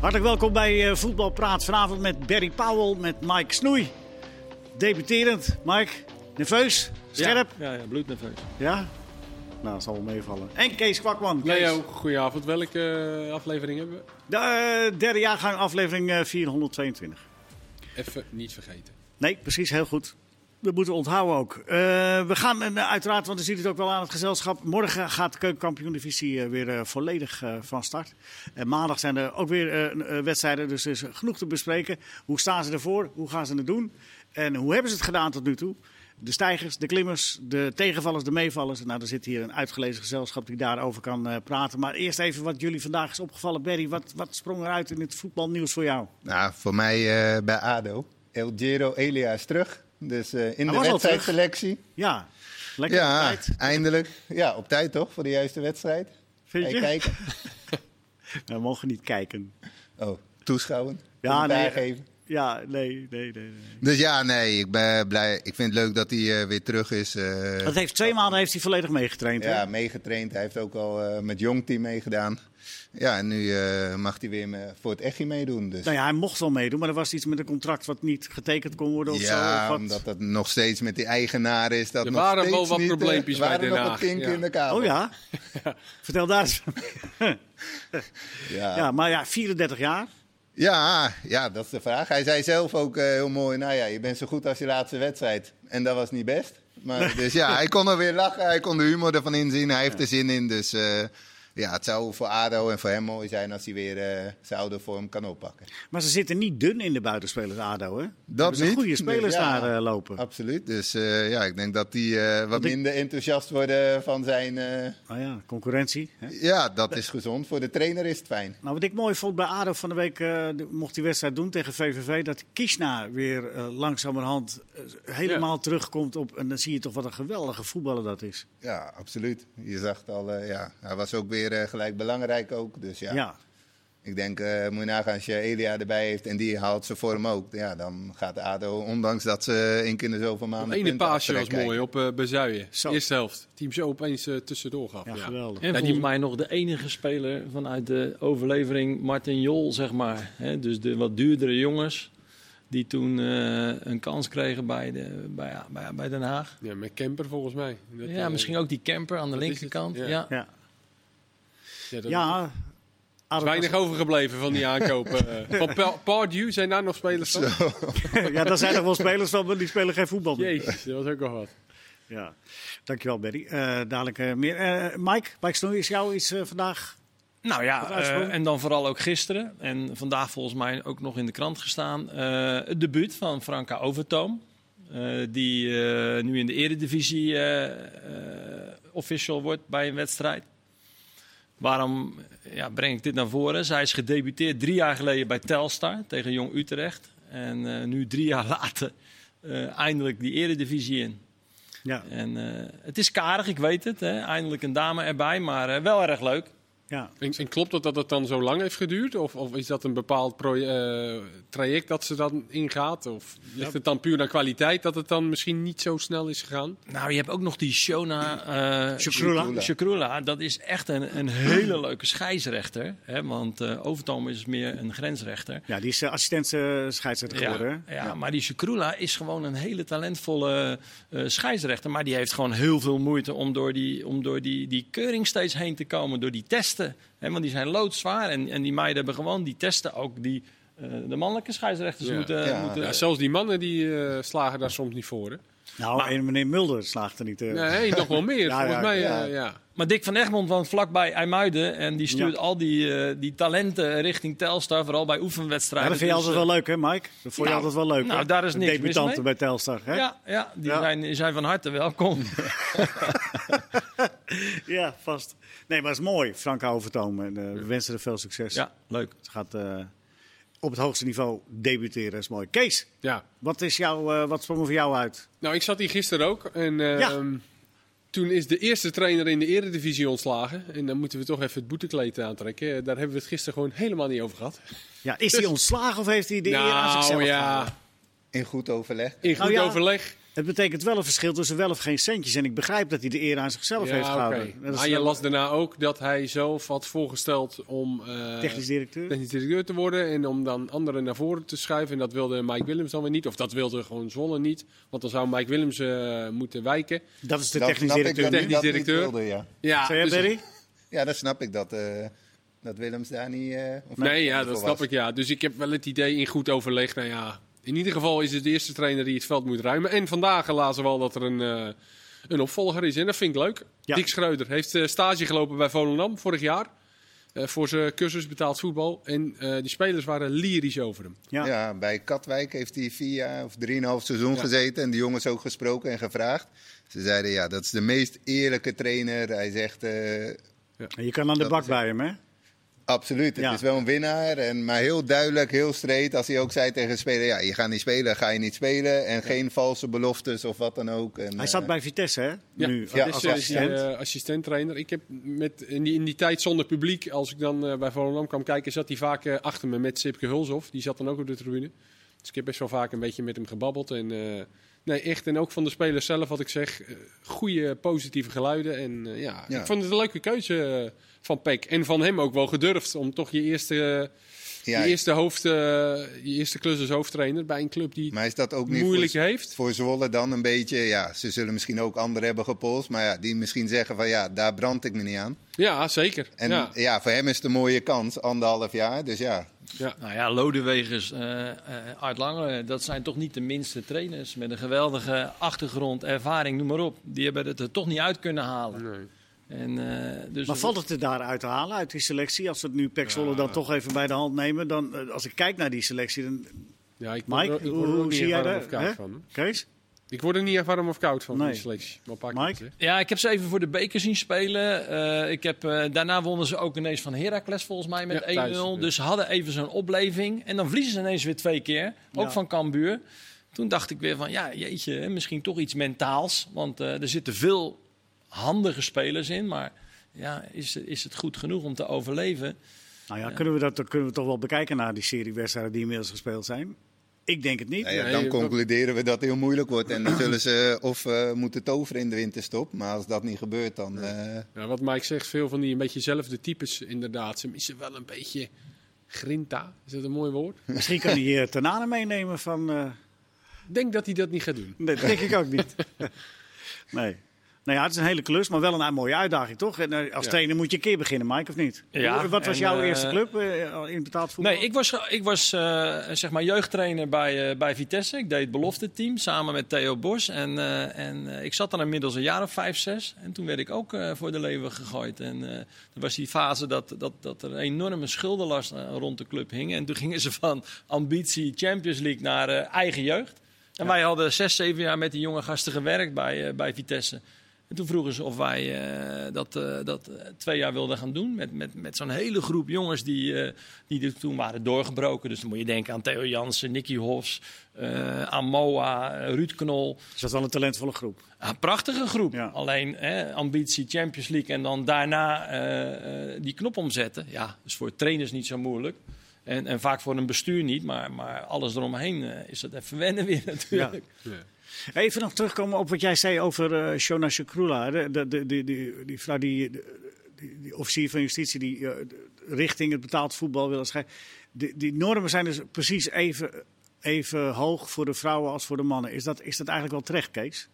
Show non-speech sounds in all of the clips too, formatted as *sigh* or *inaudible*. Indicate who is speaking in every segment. Speaker 1: Hartelijk welkom bij eh, Voetbal Praat vanavond met Barry Powell, met Mike Snoei. Debuterend, Mike. Nerveus? Scherp?
Speaker 2: Ja, ja, bloednerveus.
Speaker 1: Ja. Nou, dat zal wel meevallen. En Kees Kwakman. Kees.
Speaker 2: Leo, goedenavond. Welke eh, aflevering hebben we?
Speaker 1: De eh, derde jaargang, aflevering eh, 422.
Speaker 2: Even niet vergeten.
Speaker 1: Nee, precies, heel goed. Dat moeten we onthouden ook. Eh, we gaan eh, uiteraard, want u ziet het ook wel aan het gezelschap. Morgen gaat de keukenkampioen divisie eh, weer eh, volledig eh, van start. En maandag zijn er ook weer eh, eh, wedstrijden, dus er is genoeg te bespreken. Hoe staan ze ervoor? Hoe gaan ze het doen? En hoe hebben ze het gedaan tot nu toe? De stijgers, de klimmers, de tegenvallers, de meevallers. Nou, er zit hier een uitgelezen gezelschap die daarover kan eh, praten. Maar eerst even wat jullie vandaag is opgevallen. Berry, wat, wat sprong eruit in het voetbalnieuws voor jou?
Speaker 3: Nou, voor mij eh, bij ADO. El Giro Elia is terug. Dus eh, in
Speaker 1: was
Speaker 3: de
Speaker 1: al
Speaker 3: wedstrijdselectie.
Speaker 1: Ja, lekker
Speaker 3: Ja,
Speaker 1: tijd.
Speaker 3: eindelijk. Ja, op tijd toch? Voor de juiste wedstrijd.
Speaker 1: Vind je?
Speaker 3: Hey, kijken.
Speaker 1: We mogen niet kijken.
Speaker 3: Oh, toeschouwen.
Speaker 1: Ja,
Speaker 3: Ja,
Speaker 1: nee.
Speaker 3: nee.
Speaker 1: Ja, nee, nee, nee. nee.
Speaker 3: Dus ja, nee, ik ben eh, blij. Ik vind het leuk dat hij eh, weer terug is. eh,
Speaker 1: Dat heeft twee maanden heeft hij volledig meegetraind. hè?
Speaker 3: ja, meegetraind. Hij heeft ook al eh, met jong team meegedaan. Ja, en nu eh, mag hij weer me- voor het Echi meedoen. Dus.
Speaker 1: Nou ja, hij mocht wel meedoen, maar er was iets met een contract wat niet getekend kon worden of zo.
Speaker 3: Ja,
Speaker 1: of wat.
Speaker 3: omdat dat nog steeds met die eigenaar is. Dat
Speaker 2: Er
Speaker 3: nog
Speaker 2: waren
Speaker 3: steeds
Speaker 2: wel wat
Speaker 3: niet, eh,
Speaker 2: probleempjes bij
Speaker 3: waren
Speaker 2: Den
Speaker 3: nog wat
Speaker 2: Haag,
Speaker 3: kinken
Speaker 2: ja.
Speaker 3: in de kabel.
Speaker 1: Oh ja? *laughs* Vertel daar eens.
Speaker 3: Ja.
Speaker 1: Ja, maar ja, 34 jaar.
Speaker 3: Ja, ja, dat is de vraag. Hij zei zelf ook eh, heel mooi, nou ja, je bent zo goed als je laatste wedstrijd. En dat was niet best. Maar, dus ja, hij kon er weer lachen, hij kon de humor ervan inzien, hij heeft er zin in. Dus eh, ja, het zou voor ADO en voor hem mooi zijn als hij weer eh, zijn oude vorm kan oppakken.
Speaker 1: Maar ze zitten niet dun in de buitenspelers ADO, hè?
Speaker 3: Dat
Speaker 1: zijn
Speaker 3: niet.
Speaker 1: goede spelers
Speaker 3: Nee, ja.
Speaker 1: daar eh, lopen.
Speaker 3: Absoluut, dus eh, ja, ik denk dat die eh, wat
Speaker 1: ik-
Speaker 3: minder enthousiast worden van zijn... eh,
Speaker 1: Nou ja, concurrentie. Hè?
Speaker 3: ja, dat is gezond. Voor de trainer is het fijn.
Speaker 1: Nou, wat ik mooi vond bij ADO van de week, eh, de- mocht die wedstrijd doen tegen VVV, dat Kishna weer eh, langzamerhand eh, helemaal terugkomt op... En dan zie je toch wat een geweldige voetballer dat is.
Speaker 3: Ja, absoluut. Je zag het al, eh, ja, hij was ook weer eh, gelijk belangrijk ook. Dus
Speaker 1: ja.
Speaker 3: Ik denk, eh moet je nagaan, als je Elia erbij heeft en die haalt zijn vorm ook. Ja, dan gaat ADO, ondanks dat ze één keer in de zoveel maanden...
Speaker 2: Het ene
Speaker 3: punten
Speaker 2: paasje was
Speaker 3: achteruit kijken.
Speaker 2: mooi op eh Bezuijen.
Speaker 1: Zo.
Speaker 2: Eerste helft. Team zo opeens eh, tussendoor gaf.
Speaker 1: Ja, geweldig.
Speaker 4: En
Speaker 2: Ja,
Speaker 4: volgens
Speaker 2: die-
Speaker 4: mij nog de enige speler vanuit de overlevering Martin Jol, zeg maar. Hè, dus de wat duurdere jongens die toen eh, een kans kregen bij, de, bij, bij, bij Den Haag.
Speaker 2: Ja, met Kemper volgens mij. Dat,
Speaker 4: ja,
Speaker 2: eh,
Speaker 4: misschien ook die camper aan de
Speaker 2: dat is
Speaker 4: linkerkant.
Speaker 2: het, ja.
Speaker 1: ja.
Speaker 4: Ja.
Speaker 2: ja, dat- Er
Speaker 1: Ja,
Speaker 2: is weinig overgebleven van die aankopen. eh. van pa Pardew zijn daar nog spelers van?
Speaker 1: *laughs* ja, daar zijn nog wel spelers van, maar die spelen geen voetbal meer.
Speaker 2: Jezus, dat was ook al wat.
Speaker 1: Ja. Dankjewel, Berry. Eh, dadelijk eh, meer. Eh, Mike, Mike Snoei, is jou iets eh, vandaag?
Speaker 4: Nou ja,
Speaker 1: Wat uitsprong?
Speaker 4: eh, en dan vooral ook gisteren. En vandaag volgens mij ook nog in de krant gestaan. eh, het debuut van Franka Overtoom. eh, die eh, nu in de eredivisie eh, eh, official wordt bij een wedstrijd. Waarom ja, breng ik dit naar voren? Zij is gedebuteerd drie jaar geleden bij Telstar tegen Jong Utrecht. En eh, nu drie jaar *laughs* later eh, eindelijk die eredivisie in.
Speaker 1: Ja.
Speaker 4: En eh, het is karig, ik weet het. Hè? Eindelijk een dame erbij, maar eh, wel erg leuk.
Speaker 1: ja.
Speaker 2: En, en klopt het dat het dan zo lang heeft geduurd? Of, of is dat een bepaald pro- eh, traject dat ze dan ingaat? Of ligt het dan puur naar kwaliteit dat het dan misschien niet zo snel is gegaan?
Speaker 4: Nou, je hebt ook nog die Shona eh
Speaker 1: Shakrula.
Speaker 4: Shakrula. Dat is echt een, een hele leuke scheidsrechter. Hè? Want eh Overtoom is meer een grensrechter.
Speaker 1: ja, die is eh, assistent eh, scheidsrechter geworden.
Speaker 4: Ja,
Speaker 1: hè?
Speaker 4: ja, maar die Shakrula is gewoon een hele talentvolle eh scheidsrechter. Maar die heeft gewoon heel veel moeite om door, die, om door die, die keuring steeds heen te komen. Door die testen. Hè? Want die zijn loodzwaar. En, en die meiden hebben gewoon die testen ook die eh, de mannelijke scheidsrechters
Speaker 2: Ja.
Speaker 4: moeten...
Speaker 3: Ja.
Speaker 4: moeten
Speaker 2: Ja, zelfs die mannen die eh, slagen daar soms niet voor. Hè?
Speaker 1: Nou,
Speaker 4: Maar-
Speaker 1: en meneer Mulder slaagt er niet. eh.
Speaker 2: Nee, nog wel meer.
Speaker 1: *laughs* Ja,
Speaker 2: volgens
Speaker 1: ja,
Speaker 2: mij,
Speaker 3: ja.
Speaker 2: eh, ja.
Speaker 4: Maar Dick van Egmond woont vlakbij IJmuiden. En die stuurt
Speaker 1: Ja.
Speaker 4: al die, eh, die talenten richting Telstar. Vooral bij
Speaker 1: Ja,
Speaker 4: oefenwedstrijden.
Speaker 1: dat vind je
Speaker 4: Dus,
Speaker 1: altijd
Speaker 4: eh,
Speaker 1: wel leuk, hè, Mike? Dat vond je
Speaker 4: nou,
Speaker 1: altijd wel leuk.
Speaker 4: nou,
Speaker 1: hè?
Speaker 4: daar is
Speaker 1: De
Speaker 4: niks mis
Speaker 1: Debutanten
Speaker 4: mee.
Speaker 1: bij Telstar, hè?
Speaker 4: Ja, ja, die
Speaker 1: Ja.
Speaker 4: Zijn, die zijn van harte welkom.
Speaker 1: *laughs* Ja, vast. Nee, maar het is mooi, Frank Overtoom. En eh, we wensen er veel succes.
Speaker 4: ja, leuk.
Speaker 1: Het gaat eh, op het hoogste niveau debuteren, dat is mooi. Kees,
Speaker 2: ja.
Speaker 1: wat, is jouw, eh, wat sprong er voor jou uit?
Speaker 2: Nou, ik zat hier gisteren ook. En eh,
Speaker 1: Ja.
Speaker 2: ehm, toen is de eerste trainer in de eredivisie ontslagen. En dan moeten we toch even het boetekleed aantrekken. Eh, Daar hebben we het gisteren gewoon helemaal niet over gehad.
Speaker 1: Ja, is hij ontslagen of heeft hij de eer aan
Speaker 2: Dus- nou
Speaker 1: zichzelf
Speaker 2: ja,
Speaker 1: gehouden?
Speaker 3: In goed overleg.
Speaker 2: In goed
Speaker 1: Nou ja,
Speaker 2: overleg.
Speaker 1: Het betekent wel een verschil tussen wel of geen centjes. En ik begrijp dat hij de eer aan zichzelf heeft
Speaker 2: Ja,
Speaker 1: gehouden.
Speaker 2: oké.
Speaker 1: Dat is
Speaker 2: Maar je
Speaker 1: wel-
Speaker 2: las daarna ook dat hij zelf had voorgesteld om eh,
Speaker 1: Technisch directeur.
Speaker 2: technisch directeur te worden. En om dan anderen naar voren te schuiven. En dat wilde Mike Willems dan weer niet. Of dat wilde gewoon Zwolle niet. Want dan zou Mike Willems eh, moeten wijken.
Speaker 1: Dat is de
Speaker 3: Dan
Speaker 1: technisch
Speaker 3: snap ik
Speaker 1: directeur.
Speaker 3: dat
Speaker 1: nu.
Speaker 3: hij dat niet
Speaker 2: directeur.
Speaker 3: wilde, ja.
Speaker 2: Ja,
Speaker 1: Zeg jij,
Speaker 2: dus-
Speaker 1: Barry?
Speaker 3: ja, dan snap ik dat, eh, dat Willems daar niet... eh, of
Speaker 2: Nee,
Speaker 3: niet
Speaker 2: ja,
Speaker 3: voor
Speaker 2: dat
Speaker 3: was.
Speaker 2: snap ik. Ja. Dus ik heb wel het idee in goed overleg. Nou ja, in ieder geval is het de eerste trainer die het veld moet ruimen. En vandaag lazen we al dat er een, eh, een opvolger is. En dat vind ik leuk.
Speaker 1: Ja.
Speaker 2: Dick Schreuder heeft eh, stage gelopen bij Volendam vorig jaar. eh, voor zijn cursus betaald voetbal. En eh, die spelers waren lyrisch over hem.
Speaker 1: Ja.
Speaker 3: Ja. bij Katwijk heeft hij vier jaar of drieënhalf seizoen
Speaker 2: Ja.
Speaker 3: gezeten. En die jongens ook gesproken en gevraagd. Ze zeiden, ja, dat is de meest eerlijke trainer. Hij zegt, eh,
Speaker 1: Je kan aan de
Speaker 3: Dat
Speaker 1: bak
Speaker 3: is-
Speaker 1: bij hem, hè?
Speaker 3: absoluut, het
Speaker 1: Ja.
Speaker 3: is wel een winnaar. En, maar heel duidelijk, heel streed. Als hij ook zei tegen de speler, ja, je gaat niet spelen, ga je niet spelen. En geen valse beloftes of wat dan ook. En,
Speaker 1: Hij
Speaker 3: eh,
Speaker 1: zat bij Vitesse, hè?
Speaker 2: Ja,
Speaker 1: nu.
Speaker 2: ja,
Speaker 3: als
Speaker 2: als assistent.
Speaker 1: assistent.
Speaker 2: trainer. Eh, Ik heb met, in, die, in die tijd zonder publiek, als ik dan eh, bij Volendam kwam kijken, zat hij vaak eh, achter me met Sipke Hulshoff. Die zat dan ook op de tribune. Dus ik heb best wel vaak een beetje met hem gebabbeld. En, eh, nee, echt. En ook van de spelers zelf, wat ik zeg, eh, goede positieve geluiden. En eh, ja,
Speaker 3: Ja.
Speaker 2: ik vond het een leuke keuze eh, van Peck. En van hem ook wel gedurfd om toch je eerste, eh,
Speaker 3: ja,
Speaker 2: je eerste, hoofd, eh, je eerste klus als hoofdtrainer bij een club die
Speaker 3: Maar is dat ook niet
Speaker 2: moeilijk
Speaker 3: voor,
Speaker 2: heeft.
Speaker 3: voor Zwolle dan een beetje? Ja, ze zullen misschien ook anderen hebben gepolst. Maar ja, die misschien zeggen van, ja, daar brand ik me niet aan.
Speaker 2: Ja, zeker.
Speaker 3: En ja,
Speaker 2: ja.
Speaker 3: voor hem is het een mooie kans, anderhalf jaar. Dus ja,
Speaker 4: *laughs* Nou ja, Lodewegers, eh eh, Art Lange, dat zijn toch niet de minste trainers. Met een geweldige achtergrond, ervaring, noem maar op. Die hebben het er toch niet uit kunnen halen.
Speaker 2: Nee.
Speaker 4: En, eh, dus
Speaker 1: Maar valt het er daaruit te halen, uit die selectie? Als we het nu Pek Zwolle dan toch even bij de hand nemen. Dan, eh, als ik kijk naar die selectie, dan...
Speaker 2: Ja, ik word
Speaker 1: Mike,
Speaker 2: er- ik
Speaker 1: hoe,
Speaker 2: word er ook
Speaker 1: hoe
Speaker 2: niet
Speaker 1: zie jij
Speaker 2: ervaren of
Speaker 1: dat?
Speaker 2: koud
Speaker 1: hè?
Speaker 2: van.
Speaker 1: Kees?
Speaker 2: Ik word er niet echt warm of koud van,
Speaker 1: Nee.
Speaker 2: die selectie. Maar een paar
Speaker 1: Mike?
Speaker 2: keer, hè.
Speaker 4: Ja, ik heb ze even voor de beker zien spelen. Eh, ik heb, eh, daarna wonnen ze ook ineens van Heracles volgens mij met
Speaker 2: Ja,
Speaker 4: 1-0.
Speaker 2: thuis, ja.
Speaker 4: Dus ze hadden even zo'n opleving. En dan verliezen ze ineens weer twee keer. Ook
Speaker 1: Ja.
Speaker 4: van Cambuur. Toen dacht ik weer van, ja jeetje, hè, misschien toch iets mentaals. Want eh, er zitten veel handige spelers in. Maar ja, is, is het goed genoeg om te overleven?
Speaker 1: Nou ja, Kunnen, we dat, dan kunnen we toch wel bekijken naar die serie wedstrijden die inmiddels gespeeld zijn? Ik denk het niet.
Speaker 3: nou ja,
Speaker 2: Nee,
Speaker 3: dan
Speaker 2: je-
Speaker 3: concluderen we dat het heel moeilijk wordt. En dan zullen ze of eh, moeten toveren in de winterstop. Maar als dat niet gebeurt, dan... eh,
Speaker 2: Ja, wat Mike zegt, veel van die een beetje zelfde types inderdaad. Ze missen wel een beetje grinta. Is dat een mooi woord?
Speaker 1: Misschien kan hij hier Tanane meenemen van... eh,
Speaker 2: Ik denk dat hij dat niet gaat doen.
Speaker 1: Nee, dat denk ik ook niet. Nee. Nou ja, het is een hele klus, maar wel een mooie uitdaging, toch? En eh, als
Speaker 2: Ja.
Speaker 1: trainer moet je een keer beginnen, Mike, of niet?
Speaker 4: Ja,
Speaker 1: Hoe- Wat was
Speaker 4: en,
Speaker 1: jouw
Speaker 4: eh,
Speaker 1: eerste club eh, in betaald voetbal?
Speaker 4: Nee, ik was, ik was eh, zeg maar jeugdtrainer bij, eh, bij Vitesse. Ik deed het belofte-team samen met Theo Bos. En, eh, en eh, ik zat dan inmiddels een jaar of vijf, zes. En toen werd ik ook eh, voor de leeuwen gegooid. En eh, er was die fase dat, dat, dat er een enorme schuldenlast eh, rond de club hing. En toen gingen ze van ambitie Champions League naar eh, eigen jeugd. En wij hadden zes, zeven jaar met die jonge gasten gewerkt bij, eh, bij Vitesse. En toen vroegen ze of wij eh, dat, eh, dat eh, twee jaar wilden gaan doen. Met, met, met zo'n hele groep jongens die, eh, die er toen waren doorgebroken. Dus dan moet je denken aan Theo Jansen, Nicky Hofs, eh, aan Moa, eh, Ruud Knol.
Speaker 1: Dus dat is wel een talentvolle groep.
Speaker 4: Een prachtige groep.
Speaker 1: Ja.
Speaker 4: Alleen hè, ambitie Champions League en dan daarna eh, eh, die knop omzetten. Ja, is voor trainers niet zo moeilijk. En, en vaak voor een bestuur niet, maar, maar alles eromheen eh, is dat even wennen weer *laughs* natuurlijk.
Speaker 2: Ja.
Speaker 1: Even nog terugkomen op wat jij zei over eh Shona Shakrula. De, de, de, die- die, die vrouw, die, de- die, die officier van justitie, die eh, de- richting het betaald voetbal wil schrijven. Die, die normen zijn dus precies even, even hoog voor de vrouwen als voor de mannen. Is dat, is dat eigenlijk wel terecht, Kees?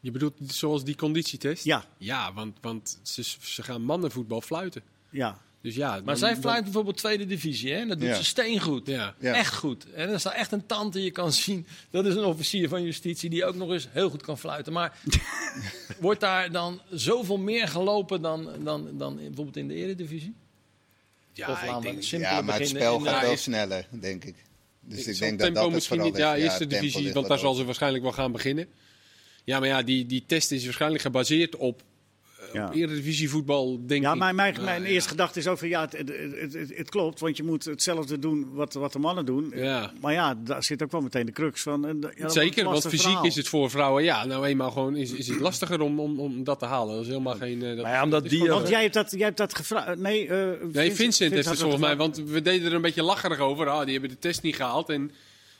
Speaker 2: Je bedoelt zoals die conditietest?
Speaker 1: Ja,
Speaker 2: Ja, want, want ze, ze gaan mannenvoetbal fluiten.
Speaker 1: ja.
Speaker 2: Dus ja,
Speaker 4: Maar
Speaker 2: dan-
Speaker 4: zij
Speaker 2: dan-
Speaker 4: fluit bijvoorbeeld tweede divisie, hè? Dat doet
Speaker 3: Ja.
Speaker 4: ze steengoed.
Speaker 2: Ja.
Speaker 3: Ja.
Speaker 4: Echt goed. En dan staat echt een tante, je kan zien. Dat is een officier van justitie die ook nog eens heel goed kan fluiten.
Speaker 3: *laughs*
Speaker 4: Maar wordt daar dan zoveel meer gelopen dan, dan, dan in- bijvoorbeeld in de eredivisie?
Speaker 2: Ja,
Speaker 4: of
Speaker 2: ik
Speaker 4: aan
Speaker 2: denk-
Speaker 4: een simpele
Speaker 3: ja, maar het
Speaker 4: beginnen
Speaker 3: spel
Speaker 4: in eh, de-
Speaker 3: gaat wel
Speaker 2: is-
Speaker 3: sneller, denk ik. Dus ik
Speaker 2: Zal
Speaker 3: denk dat
Speaker 2: tempo
Speaker 3: dat het
Speaker 2: misschien
Speaker 3: vooral
Speaker 2: niet.
Speaker 3: is.
Speaker 2: Ja, eerste
Speaker 3: het tempo
Speaker 2: divisie,
Speaker 3: ligt
Speaker 2: want daar
Speaker 3: wat
Speaker 2: zal
Speaker 3: hoog.
Speaker 2: ze waarschijnlijk wel gaan beginnen. Ja, maar ja, die, die test is waarschijnlijk gebaseerd op, eh,
Speaker 1: Ja.
Speaker 2: op eredivisie voetbal, denk
Speaker 1: Ja,
Speaker 2: ik.
Speaker 1: mijn, mijn,
Speaker 2: Maar
Speaker 1: mijn
Speaker 2: ja.
Speaker 1: eerste gedachte is ook van ja, het, het, het, het- het klopt, want je moet hetzelfde doen wat, wat de mannen doen.
Speaker 2: Ja.
Speaker 1: Maar ja, daar zit ook wel meteen de crux van. En, ja, dat wordt
Speaker 2: Zeker,
Speaker 1: een
Speaker 2: want
Speaker 1: lastig
Speaker 2: fysiek
Speaker 1: verhaal.
Speaker 2: is het voor vrouwen, ja, nou eenmaal gewoon is, is het lastiger om, om, om dat te halen. Dat is helemaal geen. eh, dat-
Speaker 4: Maar ja, omdat die...
Speaker 1: Want jij hebt dat, jij hebt dat gevraagd. Nee, eh,
Speaker 2: Nee, Vincent,
Speaker 1: had
Speaker 2: heeft het
Speaker 1: dat
Speaker 2: volgens mij,
Speaker 1: gevraagd.
Speaker 2: want we deden er een beetje lacherig over. Ah, die hebben de test niet gehaald en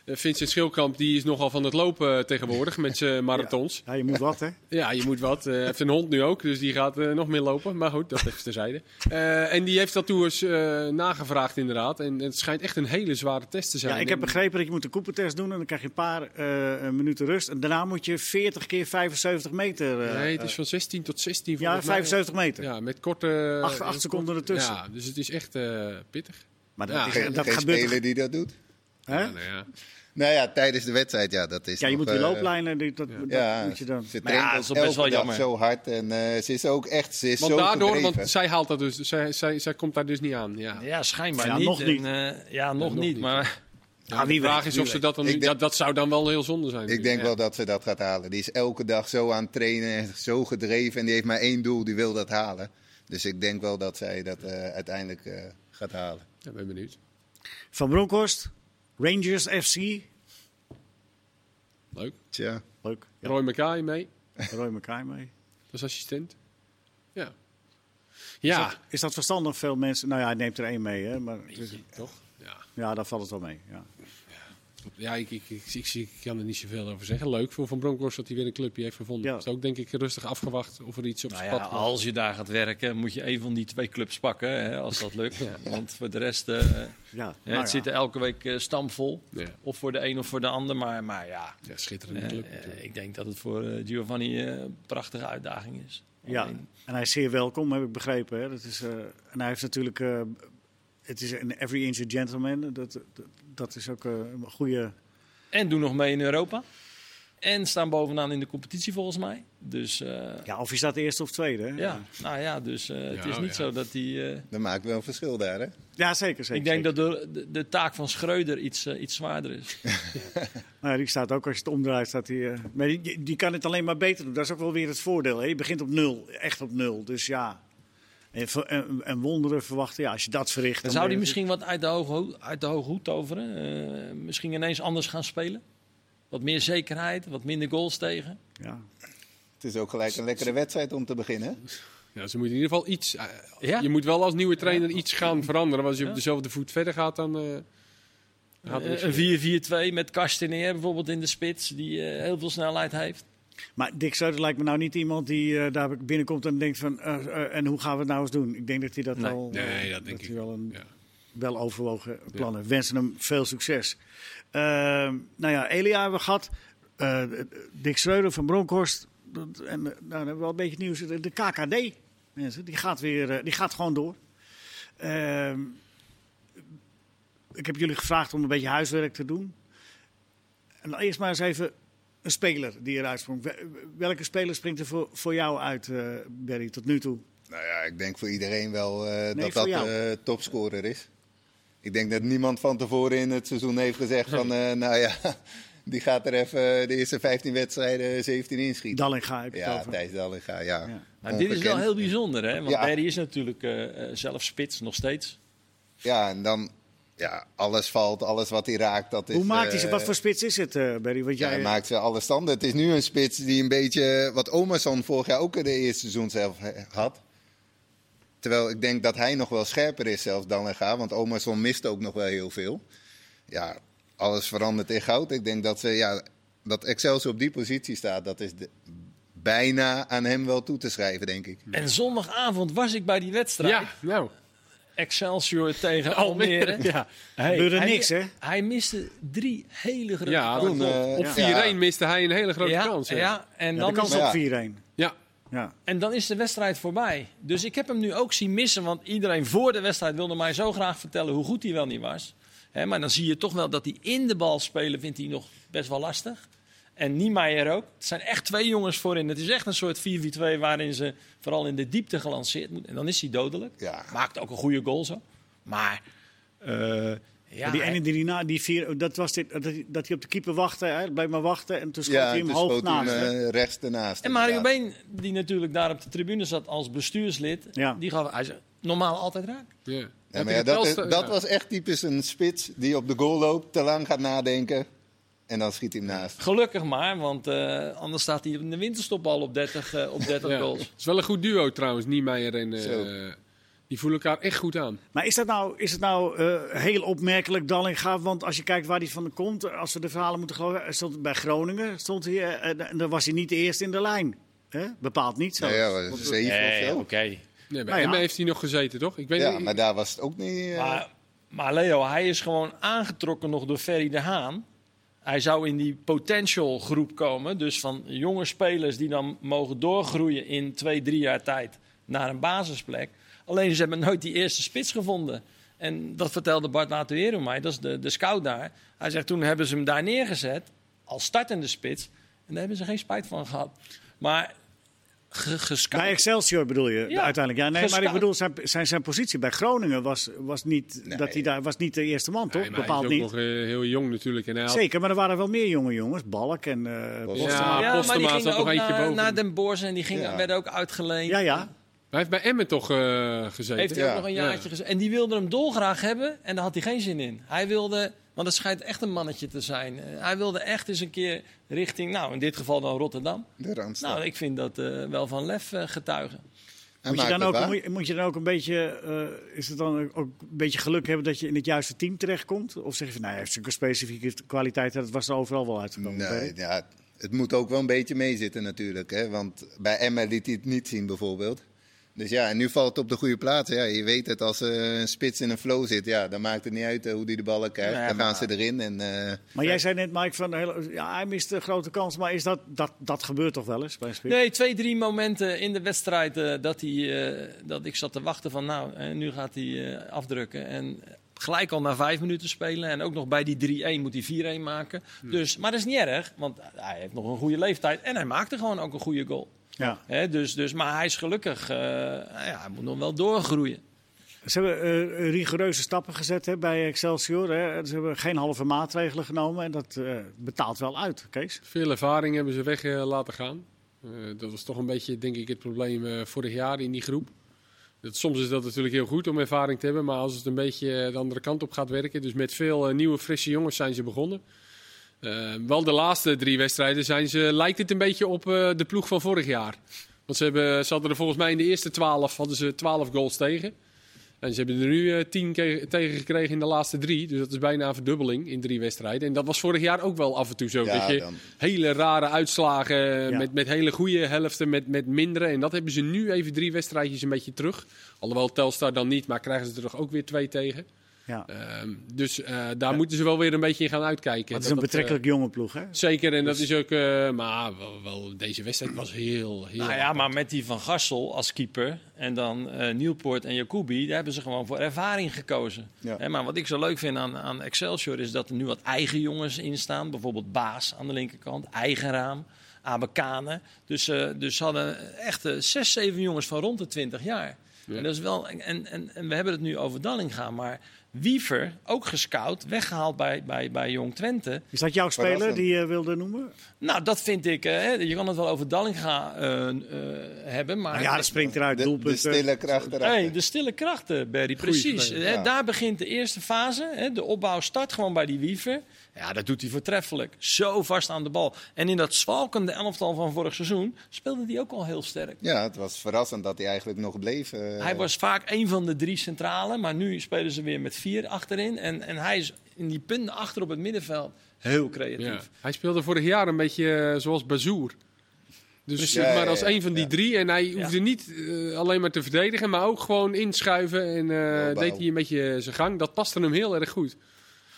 Speaker 2: Eh, Vincent Schilkamp die is nogal van het lopen eh, tegenwoordig met zijn marathons.
Speaker 1: Ja, je moet wat, hè?
Speaker 2: Ja, je moet wat. Eh, Hij heeft een hond nu ook, dus die gaat eh, nog meer lopen. Maar goed, dat even terzijde. Eh en die heeft dat toen eens eh, nagevraagd inderdaad. En, het schijnt echt een hele zware test te zijn.
Speaker 1: Ja, ik heb
Speaker 2: En-
Speaker 1: begrepen dat je moet een Cooper-test doen en dan krijg je een paar eh, eh, minuten rust. En daarna moet je 40 keer 75 meter. eh,
Speaker 2: Nee, het is
Speaker 1: eh,
Speaker 2: van 16 tot 16
Speaker 1: ja,
Speaker 2: volgens mij.
Speaker 1: 75 meter.
Speaker 2: Ja, met korte...
Speaker 1: Acht- acht seconden ertussen.
Speaker 2: Ja, dus het is echt eh, pittig.
Speaker 1: Maar dat,
Speaker 2: Ja,
Speaker 1: is-
Speaker 3: Geen,
Speaker 1: dat
Speaker 3: geen
Speaker 1: gebeurt.
Speaker 3: speler die dat doet.
Speaker 1: Hè?
Speaker 2: Ja, nou ja.
Speaker 3: Nou ja, tijdens de wedstrijd, ja, dat is
Speaker 1: Ja, je
Speaker 3: nog,
Speaker 1: moet die
Speaker 3: eh,
Speaker 1: looplijnen, die, dat, dat
Speaker 3: Ja,
Speaker 1: moet je dan.
Speaker 3: ze
Speaker 4: Maar ja,
Speaker 3: traint
Speaker 4: dat
Speaker 3: ook
Speaker 4: is best
Speaker 3: elke
Speaker 4: wel
Speaker 3: dag
Speaker 4: jammer.
Speaker 3: zo hard en eh, ze is ook echt, ze is
Speaker 2: Want
Speaker 3: zo
Speaker 2: daardoor,
Speaker 3: gedreven.
Speaker 2: want zij haalt dat dus. Zij, zij, zij komt daar dus niet aan. Ja.
Speaker 4: Ja, schijnbaar
Speaker 1: Ja,
Speaker 4: niet.
Speaker 1: nog niet.
Speaker 4: En, eh, ja, nog,
Speaker 2: nog
Speaker 4: niet.
Speaker 2: niet.
Speaker 4: Maar
Speaker 2: Ja,
Speaker 1: Ah,
Speaker 2: Nou, de
Speaker 1: wie
Speaker 2: vraag
Speaker 1: weet,
Speaker 2: is
Speaker 1: wie
Speaker 2: of ze dat dan
Speaker 3: Ik
Speaker 2: nu-
Speaker 3: denk-
Speaker 2: dat, dat zou dan wel heel zonde zijn.
Speaker 3: Ik denk
Speaker 2: Ja.
Speaker 3: wel dat ze dat gaat halen. Die is elke dag zo aan het trainen, en zo gedreven en die heeft maar één doel, die wil dat halen. Dus ik denk wel dat zij dat eh, uiteindelijk eh, gaat halen.
Speaker 2: Ja, ben benieuwd.
Speaker 1: Van Bronckhorst, Rangers FC.
Speaker 2: Leuk.
Speaker 3: Tja.
Speaker 1: Leuk. Ja,
Speaker 2: Roy Mackay mee
Speaker 1: Roy McKay mee.
Speaker 2: als assistent. Ja. Ja.
Speaker 1: Is dat verstandig? Veel mensen. Nou ja, hij neemt er één mee, hè? Maar,
Speaker 2: Toch? Ja.
Speaker 1: ja, daar valt het wel mee. Ja.
Speaker 2: Ja, ik, ik, ik, ik, ik kan er niet zoveel over zeggen. Leuk voor Van Bronckhorst dat hij weer een clubje heeft gevonden.
Speaker 1: Ja.
Speaker 2: Is ook denk ik rustig afgewacht of er iets op
Speaker 4: nou
Speaker 2: zijn
Speaker 4: ja,
Speaker 2: pad komt.
Speaker 4: *laughs* als je daar gaat werken, moet je een van die twee clubs pakken. Hè, als dat *laughs* lukt. Want voor de rest, eh, hè,
Speaker 1: Ja, nou ja.
Speaker 4: het zit er elke week eh, stamvol.
Speaker 2: Ja.
Speaker 4: Of voor de een of voor de ander. Maar, maar ja,
Speaker 2: Ja, schitterende
Speaker 4: eh,
Speaker 2: club
Speaker 4: eh,
Speaker 2: natuurlijk.
Speaker 4: ik denk dat het voor eh, Giovanni eh, een prachtige uitdaging is.
Speaker 1: Ja,
Speaker 4: Alleen-
Speaker 1: en hij is zeer welkom, heb ik begrepen. Hè? Dat is, eh, en hij heeft natuurlijk. eh, het is een every inch a gentleman. Dat, dat, dat is ook eh, een goede.
Speaker 4: En doen nog mee in Europa. En staan bovenaan in de competitie volgens mij. Dus eh, ja.
Speaker 1: Ja, of je staat eerste of tweede. Hè?
Speaker 4: nou ja, dus eh, het
Speaker 2: Ja,
Speaker 4: is niet
Speaker 2: ja.
Speaker 4: zo dat hij... eh,
Speaker 3: Dat maakt wel een verschil daar, hè?
Speaker 1: ja zeker. zeker
Speaker 4: ik denk
Speaker 1: zeker.
Speaker 4: dat de, de, de taak van Schreuder iets, eh, iets zwaarder is.
Speaker 1: Nou ja, die staat ook als je het omdraait. Staat die, eh, maar die, die kan het alleen maar beter doen. Dat is ook wel weer het voordeel. Hè? Je begint op nul, echt op nul. Dus ja. En, ver- en, en wonderen verwachten, ja, als je dat verricht.
Speaker 4: Dan
Speaker 1: dan
Speaker 4: zou hij
Speaker 1: ben je
Speaker 4: misschien wat uit de hoge, ho- uit de hoge hoed toveren. Eh, misschien ineens anders gaan spelen. Wat meer zekerheid, wat minder goals tegen.
Speaker 1: natuurlijk- Ja.
Speaker 3: Het is ook gelijk een lekkere wedstrijd om te beginnen.
Speaker 2: Ja, ze moeten in ieder geval iets. eh,
Speaker 4: Ja.
Speaker 2: Je moet wel als nieuwe trainer iets gaan veranderen. Want als je op dezelfde voet verder gaat, dan. eh, gaat het
Speaker 4: Eh,
Speaker 2: niet
Speaker 4: Een
Speaker 2: gebeuren.
Speaker 4: 4-4-2 met Kasteneer bijvoorbeeld in de spits. Die eh, heel veel snelheid heeft.
Speaker 1: Maar Dick Suiter lijkt me nou niet iemand die eh, daar binnenkomt en denkt van, eh, eh, en hoe gaan we het nou eens doen? Ik denk dat hij dat
Speaker 4: Nee.
Speaker 1: wel... eh,
Speaker 2: Nee, dat denk
Speaker 1: hij
Speaker 2: ik
Speaker 1: wel een
Speaker 2: Ja.
Speaker 1: wel overwogen plannen. We wensen hem veel succes. Eh, nou ja, Elia hebben we gehad. Eh, Dick Schreuder van Bronkhorst. Dat- En eh, nou, dan hebben we wel een beetje nieuws. De, de KKD, mensen, die gaat, weer, eh, die gaat gewoon door. Ehm, ik heb jullie gevraagd om een beetje huiswerk te doen. En dan eerst maar eens even een speler die eruit sprong. Wel- Welke speler springt er voor, voor jou uit, eh Barry, tot nu toe?
Speaker 3: Nou ja, ik denk voor iedereen wel eh, dat
Speaker 1: voor
Speaker 3: dat
Speaker 1: jou.
Speaker 3: eh topscorer is. Ik denk dat niemand van tevoren in het seizoen heeft gezegd van...
Speaker 1: *laughs*
Speaker 3: eh, nou ja, *laughs* die gaat er even de eerste 15 wedstrijden 17 inschieten.
Speaker 1: Dallinga heb ik het
Speaker 3: ja,
Speaker 1: over.
Speaker 3: Thijs Dallinga, ja.
Speaker 1: Ja.
Speaker 4: Nou, dit is wel
Speaker 3: Ongekend.
Speaker 4: heel bijzonder, hè? Want
Speaker 3: Ja.
Speaker 4: Barry is natuurlijk eh, eh, zelf spits nog steeds.
Speaker 3: Ja, en dan... Ja, alles valt, alles wat hij raakt, dat is...
Speaker 1: Hoe maakt hij ze?
Speaker 3: eh,
Speaker 1: Wat voor spits is het, eh Barry? Want
Speaker 3: Ja,
Speaker 1: jij,
Speaker 3: hij maakt ze alle standen. Het is nu een spits die een beetje wat Omerson vorig jaar ook in de eerste seizoen zelf he- had. Terwijl ik denk dat hij nog wel scherper is zelfs dan Lega, want Omerson mist ook nog wel heel veel. Ja, alles verandert in goud. Ik denk dat, ze, ja, dat Excelsior op die positie staat, dat is de- bijna aan hem wel toe te schrijven, denk ik.
Speaker 4: En zondagavond was ik bij die wedstrijd.
Speaker 2: ja,
Speaker 4: *laughs*
Speaker 2: nou.
Speaker 4: Excelsior tegen Almere.
Speaker 2: *laughs* Ja,
Speaker 4: Hey,
Speaker 1: Gebeurde
Speaker 4: hij-
Speaker 1: niks, hè?
Speaker 4: Hij miste drie hele grote
Speaker 2: ja
Speaker 4: kansen.
Speaker 2: want, eh,
Speaker 3: eh,
Speaker 2: op
Speaker 3: ja.
Speaker 2: 4-1 miste hij een hele grote
Speaker 4: ja,
Speaker 2: kans. hè.
Speaker 4: ja, en,
Speaker 1: Ja,
Speaker 4: dan
Speaker 1: de kans
Speaker 4: is,
Speaker 3: maar ja.
Speaker 1: op 4-1.
Speaker 2: ja.
Speaker 1: Ja.
Speaker 4: en dan is de wedstrijd voorbij. Dus ik heb hem nu ook zien missen. Want iedereen voor de wedstrijd wilde mij zo graag vertellen hoe goed hij wel niet was. Hè, maar dan zie je toch wel dat hij in de bal spelen vindt hij nog best wel lastig. En Niemeyer ook. Het zijn echt twee jongens voorin. Het is echt een soort 4-4-2 waarin ze vooral in de diepte gelanceerd moeten. En dan is hij dodelijk.
Speaker 3: Ja.
Speaker 4: Maakt ook een goede goal zo. Maar eh, ja,
Speaker 1: Maar die
Speaker 4: hij-
Speaker 1: ene die, die na, die vier, dat was dit, dat, hij- dat hij op de keeper wachtte, hè, blijf maar wachten. En toen schoot
Speaker 3: Ja,
Speaker 1: hij hem
Speaker 3: dus
Speaker 1: hoog
Speaker 3: schoot hij
Speaker 1: naast. hè.
Speaker 3: hem, eh, rechts ernaast.
Speaker 4: En Mario
Speaker 3: inderdaad.
Speaker 4: Been, die natuurlijk daar op de tribune zat als bestuurslid,
Speaker 1: Ja.
Speaker 4: die gaf, hij zei, normaal altijd raak.
Speaker 2: Ja.
Speaker 3: Ja,
Speaker 2: Heb
Speaker 3: maar
Speaker 2: je
Speaker 3: ja,
Speaker 2: de
Speaker 3: dat, is-
Speaker 2: Telstra-
Speaker 3: dat
Speaker 2: ja.
Speaker 3: was echt typisch een spits die op de goal loopt, te lang gaat nadenken en dan schiet hij hem naast.
Speaker 4: Gelukkig maar, want eh, anders staat hij in de winterstop al op 30, eh, op 30
Speaker 2: Ja.
Speaker 4: goals.
Speaker 2: Het is wel een goed duo trouwens, Niemeyer en eh
Speaker 3: Zo.
Speaker 2: Die voelen elkaar echt goed aan.
Speaker 1: Maar is dat nou, is het nou eh, heel opmerkelijk Dallinga? Want als je kijkt waar hij van komt, als we de verhalen moeten geloven, hij stond bij Groningen stond hij, eh, en dan was hij niet de eerste in de lijn. hè? Bepaald niet zo.
Speaker 3: Nou ja, dat is zeven
Speaker 4: Nee,
Speaker 3: of
Speaker 4: oké.
Speaker 3: zo.
Speaker 2: Nee, bij
Speaker 1: Nou ja.
Speaker 2: Emmen heeft hij nog gezeten, toch? Ik weet
Speaker 3: Ja,
Speaker 2: niet-
Speaker 3: maar daar was het ook niet... eh,
Speaker 4: Maar, maar Leo, hij is gewoon aangetrokken nog door Ferry de Haan. Hij zou in die potential groep komen. Dus van jonge spelers die dan mogen doorgroeien in twee, drie jaar tijd naar een basisplek. Alleen ze hebben nooit die eerste spits gevonden. En dat vertelde Bart Latuero mij, dat is de, de scout daar. Hij zegt toen hebben ze hem daar neergezet als startende spits. En daar hebben ze geen spijt van gehad. Maar ge, gescout-
Speaker 1: Bij Excelsior bedoel je
Speaker 4: Ja.
Speaker 1: uiteindelijk. Ja, nee, maar
Speaker 4: Gescout.
Speaker 1: ik bedoel, zijn, zijn, zijn positie bij Groningen was, was, niet,
Speaker 3: Nee.
Speaker 1: dat hij daar, was niet de eerste man, toch?
Speaker 2: Nee, maar
Speaker 1: Bepaald
Speaker 2: hij is
Speaker 1: niet.
Speaker 2: ook nog eh, heel jong natuurlijk. En hij had-
Speaker 1: Zeker, maar er waren wel meer jonge jongens. Balk en eh
Speaker 3: Was-
Speaker 1: Postema.
Speaker 2: Ja,
Speaker 4: ja, maar die
Speaker 2: Postema
Speaker 4: gingen
Speaker 2: zat nog
Speaker 4: ook
Speaker 2: eentje
Speaker 4: naar,
Speaker 2: boven.
Speaker 4: naar Den Bosch en die gingen,
Speaker 3: Ja.
Speaker 4: werden ook uitgeleend.
Speaker 1: Ja, ja.
Speaker 2: Hij heeft bij Emmen toch eh, gezeten?
Speaker 4: Heeft hij
Speaker 3: Ja.
Speaker 4: ook nog een
Speaker 2: Ja.
Speaker 4: jaartje gezeten. En die wilde hem dolgraag hebben en daar had hij geen zin in. Hij wilde, want het schijnt echt een mannetje te zijn. Eh, hij wilde echt eens een keer richting, nou in dit geval dan Rotterdam.
Speaker 3: De Randstad.
Speaker 4: Nou, ik vind dat eh, wel van lef eh, getuigen.
Speaker 3: Hij
Speaker 1: Moet je,
Speaker 3: maakt
Speaker 1: dan
Speaker 3: het
Speaker 1: ook,
Speaker 3: Nou, waar.
Speaker 1: moet, je, moet je dan ook een beetje, eh, is het dan ook een beetje geluk hebben dat je in het juiste team terechtkomt? Of zeg je van, nou, hij heeft zulke specifieke kwaliteiten, dat was er overal wel uitgekomen.
Speaker 3: Nee,
Speaker 1: Nee.
Speaker 3: ja, het moet ook wel een beetje meezitten natuurlijk. Hè? Want bij Emma liet hij het niet zien bijvoorbeeld. Dus ja, en nu valt het op de goede plaats. Ja, je weet het, als eh, een spits in een flow zit, ja, dan maakt het niet uit eh, hoe die de ballen krijgt.
Speaker 4: Ja,
Speaker 3: dan gaan
Speaker 4: maar-
Speaker 3: ze erin. En, eh,
Speaker 1: Maar jij zei net, Mike, van, heel- ja, hij mist een grote kans, maar is dat, dat, dat gebeurt toch wel eens bij een spits?
Speaker 4: Nee, twee, drie momenten in de wedstrijd eh, dat, hij, eh, dat ik zat te wachten van nou, eh, nu gaat hij eh, afdrukken. En gelijk al na vijf minuten spelen en ook nog bij die 3-1 moet hij 4-1 maken. Dus, maar dat is niet erg, want hij heeft nog een goede leeftijd en hij maakte gewoon ook een goede goal.
Speaker 1: Ja.
Speaker 4: Hè, dus, dus, maar hij is gelukkig, eh, nou ja, hij moet nog wel doorgroeien.
Speaker 1: Ze hebben eh, rigoureuze stappen gezet hè, bij Excelsior. Hè. Ze hebben geen halve maatregelen genomen en dat eh, betaalt wel uit, Kees.
Speaker 2: Veel ervaring hebben ze weg eh, laten gaan. Eh, dat was toch een beetje, denk ik, het probleem eh, vorig jaar in die groep. Dat, soms is dat natuurlijk heel goed om ervaring te hebben, maar als het een beetje eh, de andere kant op gaat werken. Dus met veel eh, nieuwe, frisse jongens zijn ze begonnen. Eh, wel de laatste drie wedstrijden zijn ze, lijkt het een beetje op eh, de ploeg van vorig jaar. Want ze, hebben, ze hadden er volgens mij in de eerste twaalf, hadden ze twaalf goals tegen. En ze hebben er nu eh, tien ke- tegen gekregen in de laatste drie. Dus dat is bijna een verdubbeling in drie wedstrijden. En dat was vorig jaar ook wel af en toe zo.
Speaker 3: ja,
Speaker 2: dat je,
Speaker 3: dan,
Speaker 2: hele rare uitslagen eh,
Speaker 1: Ja.
Speaker 2: met, met hele goede helften, met, met mindere. En dat hebben ze nu even drie wedstrijdjes een beetje terug. Alhoewel Telstar dan niet, maar krijgen ze er toch ook weer twee tegen.
Speaker 1: Ja.
Speaker 2: Ehm, dus eh, daar moeten ze wel weer een beetje in gaan uitkijken.
Speaker 1: Het is
Speaker 2: Dat
Speaker 1: een
Speaker 2: dat, eh,
Speaker 1: betrekkelijk jonge ploeg, hè?
Speaker 2: zeker, en dat is ook... eh, maar wel, wel, deze wedstrijd was heel, heel...
Speaker 4: Nou ja, maar met die Van Gassel als keeper en dan eh Nieuwpoort en Jacobi, daar hebben ze gewoon voor ervaring gekozen.
Speaker 3: Ja.
Speaker 4: Hè, maar wat ik zo leuk vind aan, aan Excelsior is dat er nu wat eigen jongens in staan. Bijvoorbeeld Baas aan de linkerkant, Eigenraam, Abekane. Dus, eh, dus ze hadden echt eh, zes, zeven jongens van rond de 20 jaar.
Speaker 2: Ja.
Speaker 4: En, dat is wel, en, en, en we hebben het nu over Dallinga, maar Wiever, ook gescout, weggehaald bij, bij, bij Jong Twente.
Speaker 1: Is dat jouw speler
Speaker 3: Verrassend.
Speaker 1: die je wilde noemen?
Speaker 4: Nou, dat vind ik. eh, hè, je kan het wel over Dallinga eh, eh, hebben, maar.
Speaker 1: Nou ja, dat springt eruit.
Speaker 3: de, de
Speaker 1: Doelpunten. dus-
Speaker 3: stille kracht erachter.
Speaker 4: Hey, de stille krachten, Barry. Precies.
Speaker 2: speler,
Speaker 4: Hè,
Speaker 3: ja.
Speaker 4: Daar begint de eerste fase. Hè, de opbouw start gewoon bij die wiever. Ja, dat doet hij voortreffelijk. Zo vast aan de bal. En in dat zwalkende elftal van vorig seizoen speelde hij ook al heel sterk.
Speaker 3: Ja, het was verrassend dat hij eigenlijk nog bleef. eh.
Speaker 4: Hij was vaak een van de drie centralen, maar nu spelen ze weer met vier achterin. En, en hij is in die punten achter op het middenveld heel creatief.
Speaker 2: Ja. Hij speelde vorig jaar een beetje eh, zoals Bazoer. Dus
Speaker 3: Ja,
Speaker 2: zeg maar
Speaker 3: ja,
Speaker 2: als
Speaker 3: ja,
Speaker 2: een van die
Speaker 3: ja.
Speaker 2: drie. En hij hoefde niet eh, alleen maar te verdedigen, maar ook gewoon inschuiven. En eh,
Speaker 3: Opbouw.
Speaker 2: deed hij een beetje zijn gang. Dat paste hem heel erg goed.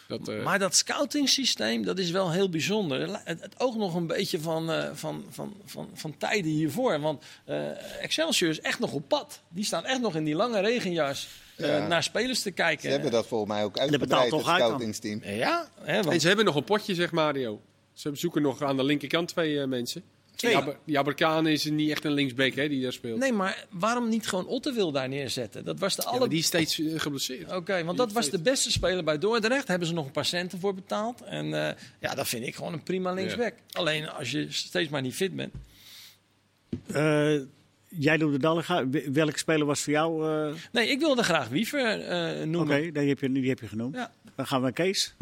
Speaker 2: Dat, eh,
Speaker 4: Maar dat scoutingsysteem, dat is wel heel bijzonder. La- Het, het oog nog een beetje van, eh, van, van, van, van tijden hiervoor. Want eh, Excelsior is echt nog op pad. Die staan echt nog in die lange regenjas eh,
Speaker 3: Ja.
Speaker 4: naar spelers te kijken. Eh,
Speaker 3: Ze hebben dat volgens mij ook
Speaker 1: betaalt
Speaker 3: uitgebreid, het
Speaker 1: toch uit dan?
Speaker 3: scoutingsteam.
Speaker 4: Ja, hè,
Speaker 2: en
Speaker 4: want
Speaker 2: ze hebben nog een potje, zeg Mario. Ze zoeken nog aan de linkerkant twee eh, mensen.
Speaker 4: Twee.
Speaker 2: Die Aber- Die Aberkaan is niet echt een linksback hè, die daar speelt.
Speaker 4: Nee, maar waarom niet gewoon Ottewil daar neerzetten? Dat was de
Speaker 2: Ja,
Speaker 4: alle...
Speaker 2: maar die is steeds eh, geblesseerd.
Speaker 4: Oké, want dat was de beste speler bij Dordrecht. Daar hebben ze nog een paar centen voor betaald. En eh, ja, dat vind ik gewoon een prima linksback. Alleen als je steeds maar niet fit bent.
Speaker 1: Eh, jij doet de Dallinga. W- Welke speler was voor jou? eh,
Speaker 4: Nee, ik wilde graag Wiever eh, noemen.
Speaker 1: Oké, die, heb je- die heb je genoemd.
Speaker 4: Ja.
Speaker 1: Dan gaan we naar Kees.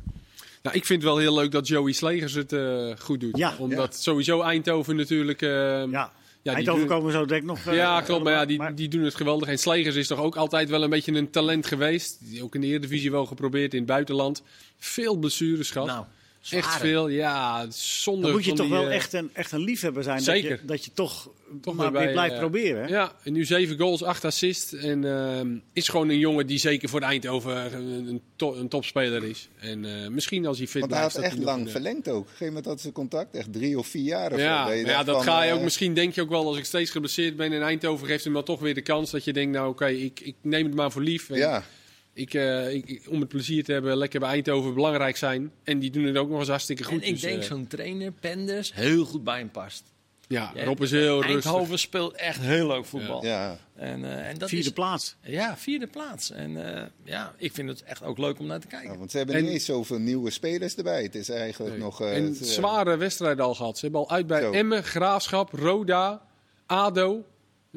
Speaker 2: Nou, ik vind het wel heel leuk dat Joey Slegers het eh, goed doet.
Speaker 1: Ja.
Speaker 2: Omdat sowieso Eindhoven natuurlijk... eh,
Speaker 1: Ja.
Speaker 2: die
Speaker 1: Eindhoven
Speaker 2: doen-
Speaker 1: komen we zo denk ik nog. eh,
Speaker 2: ja, klopt. Maar ja, die,
Speaker 1: maar-
Speaker 2: die doen het geweldig. En Slegers is toch ook altijd wel een beetje een talent geweest. Die Ook in de Eredivisie wel geprobeerd in het buitenland. Veel blessures gehad.
Speaker 4: Nou,
Speaker 2: echt
Speaker 4: zware.
Speaker 2: veel. Ja, zonder
Speaker 1: Dan moet je
Speaker 2: van
Speaker 1: toch
Speaker 2: die,
Speaker 1: wel
Speaker 2: eh,
Speaker 1: echt een, echt een liefhebber zijn. Dat, je,
Speaker 2: Zeker.
Speaker 1: dat je toch,
Speaker 2: Toch
Speaker 1: maar
Speaker 2: weer
Speaker 1: weer
Speaker 2: bij,
Speaker 1: blijft
Speaker 2: eh,
Speaker 1: proberen. hè?
Speaker 2: Ja, en nu zeven goals, acht assists. En ehm, is gewoon een jongen die zeker voor de Eindhoven een, een, to- een topspeler is. En eh, misschien als hij fit
Speaker 3: Want hij
Speaker 2: blijft...
Speaker 3: had
Speaker 2: dat
Speaker 3: echt
Speaker 2: nog
Speaker 3: lang
Speaker 2: een- eh,
Speaker 3: verlengd ook. Op een gegeven moment had zijn contract echt drie of vier jaar of
Speaker 2: Ja,
Speaker 3: zo.
Speaker 2: maar
Speaker 3: je
Speaker 2: ja,
Speaker 3: dacht
Speaker 2: dat
Speaker 3: van,
Speaker 2: ga je ook.
Speaker 3: eh,
Speaker 2: Misschien denk je ook wel, als ik steeds geblesseerd ben in Eindhoven, geeft hem dan toch weer de kans dat je denkt, nou oké, ik, ik neem het maar voor lief. En
Speaker 3: Ja,
Speaker 2: ik, eh, ik, ik- om het plezier te hebben, lekker bij Eindhoven belangrijk zijn. En die doen het ook nog eens hartstikke goed.
Speaker 4: en ik
Speaker 2: Dus,
Speaker 4: denk
Speaker 2: eh,
Speaker 4: zo'n trainer, Penders, heel goed bij hem past.
Speaker 2: Ja,
Speaker 4: Ja, eh,
Speaker 2: Rob is heel
Speaker 4: Eindhoven
Speaker 2: rustig.
Speaker 4: speelt echt heel leuk voetbal.
Speaker 3: ja.
Speaker 4: En, eh, en dat
Speaker 1: Vierde
Speaker 4: is,
Speaker 1: plaats.
Speaker 4: Ja, vierde plaats. En eh, ja, ik vind het echt ook leuk om naar te kijken.
Speaker 3: Ja, want ze hebben
Speaker 2: En-
Speaker 3: niet eens zoveel nieuwe spelers erbij. Het is eigenlijk nog... eh,
Speaker 2: en
Speaker 3: het, eh,
Speaker 2: zware wedstrijden al gehad. Ze hebben al uit bij
Speaker 3: Zo.
Speaker 2: Emmen, Graafschap, Roda, ADO.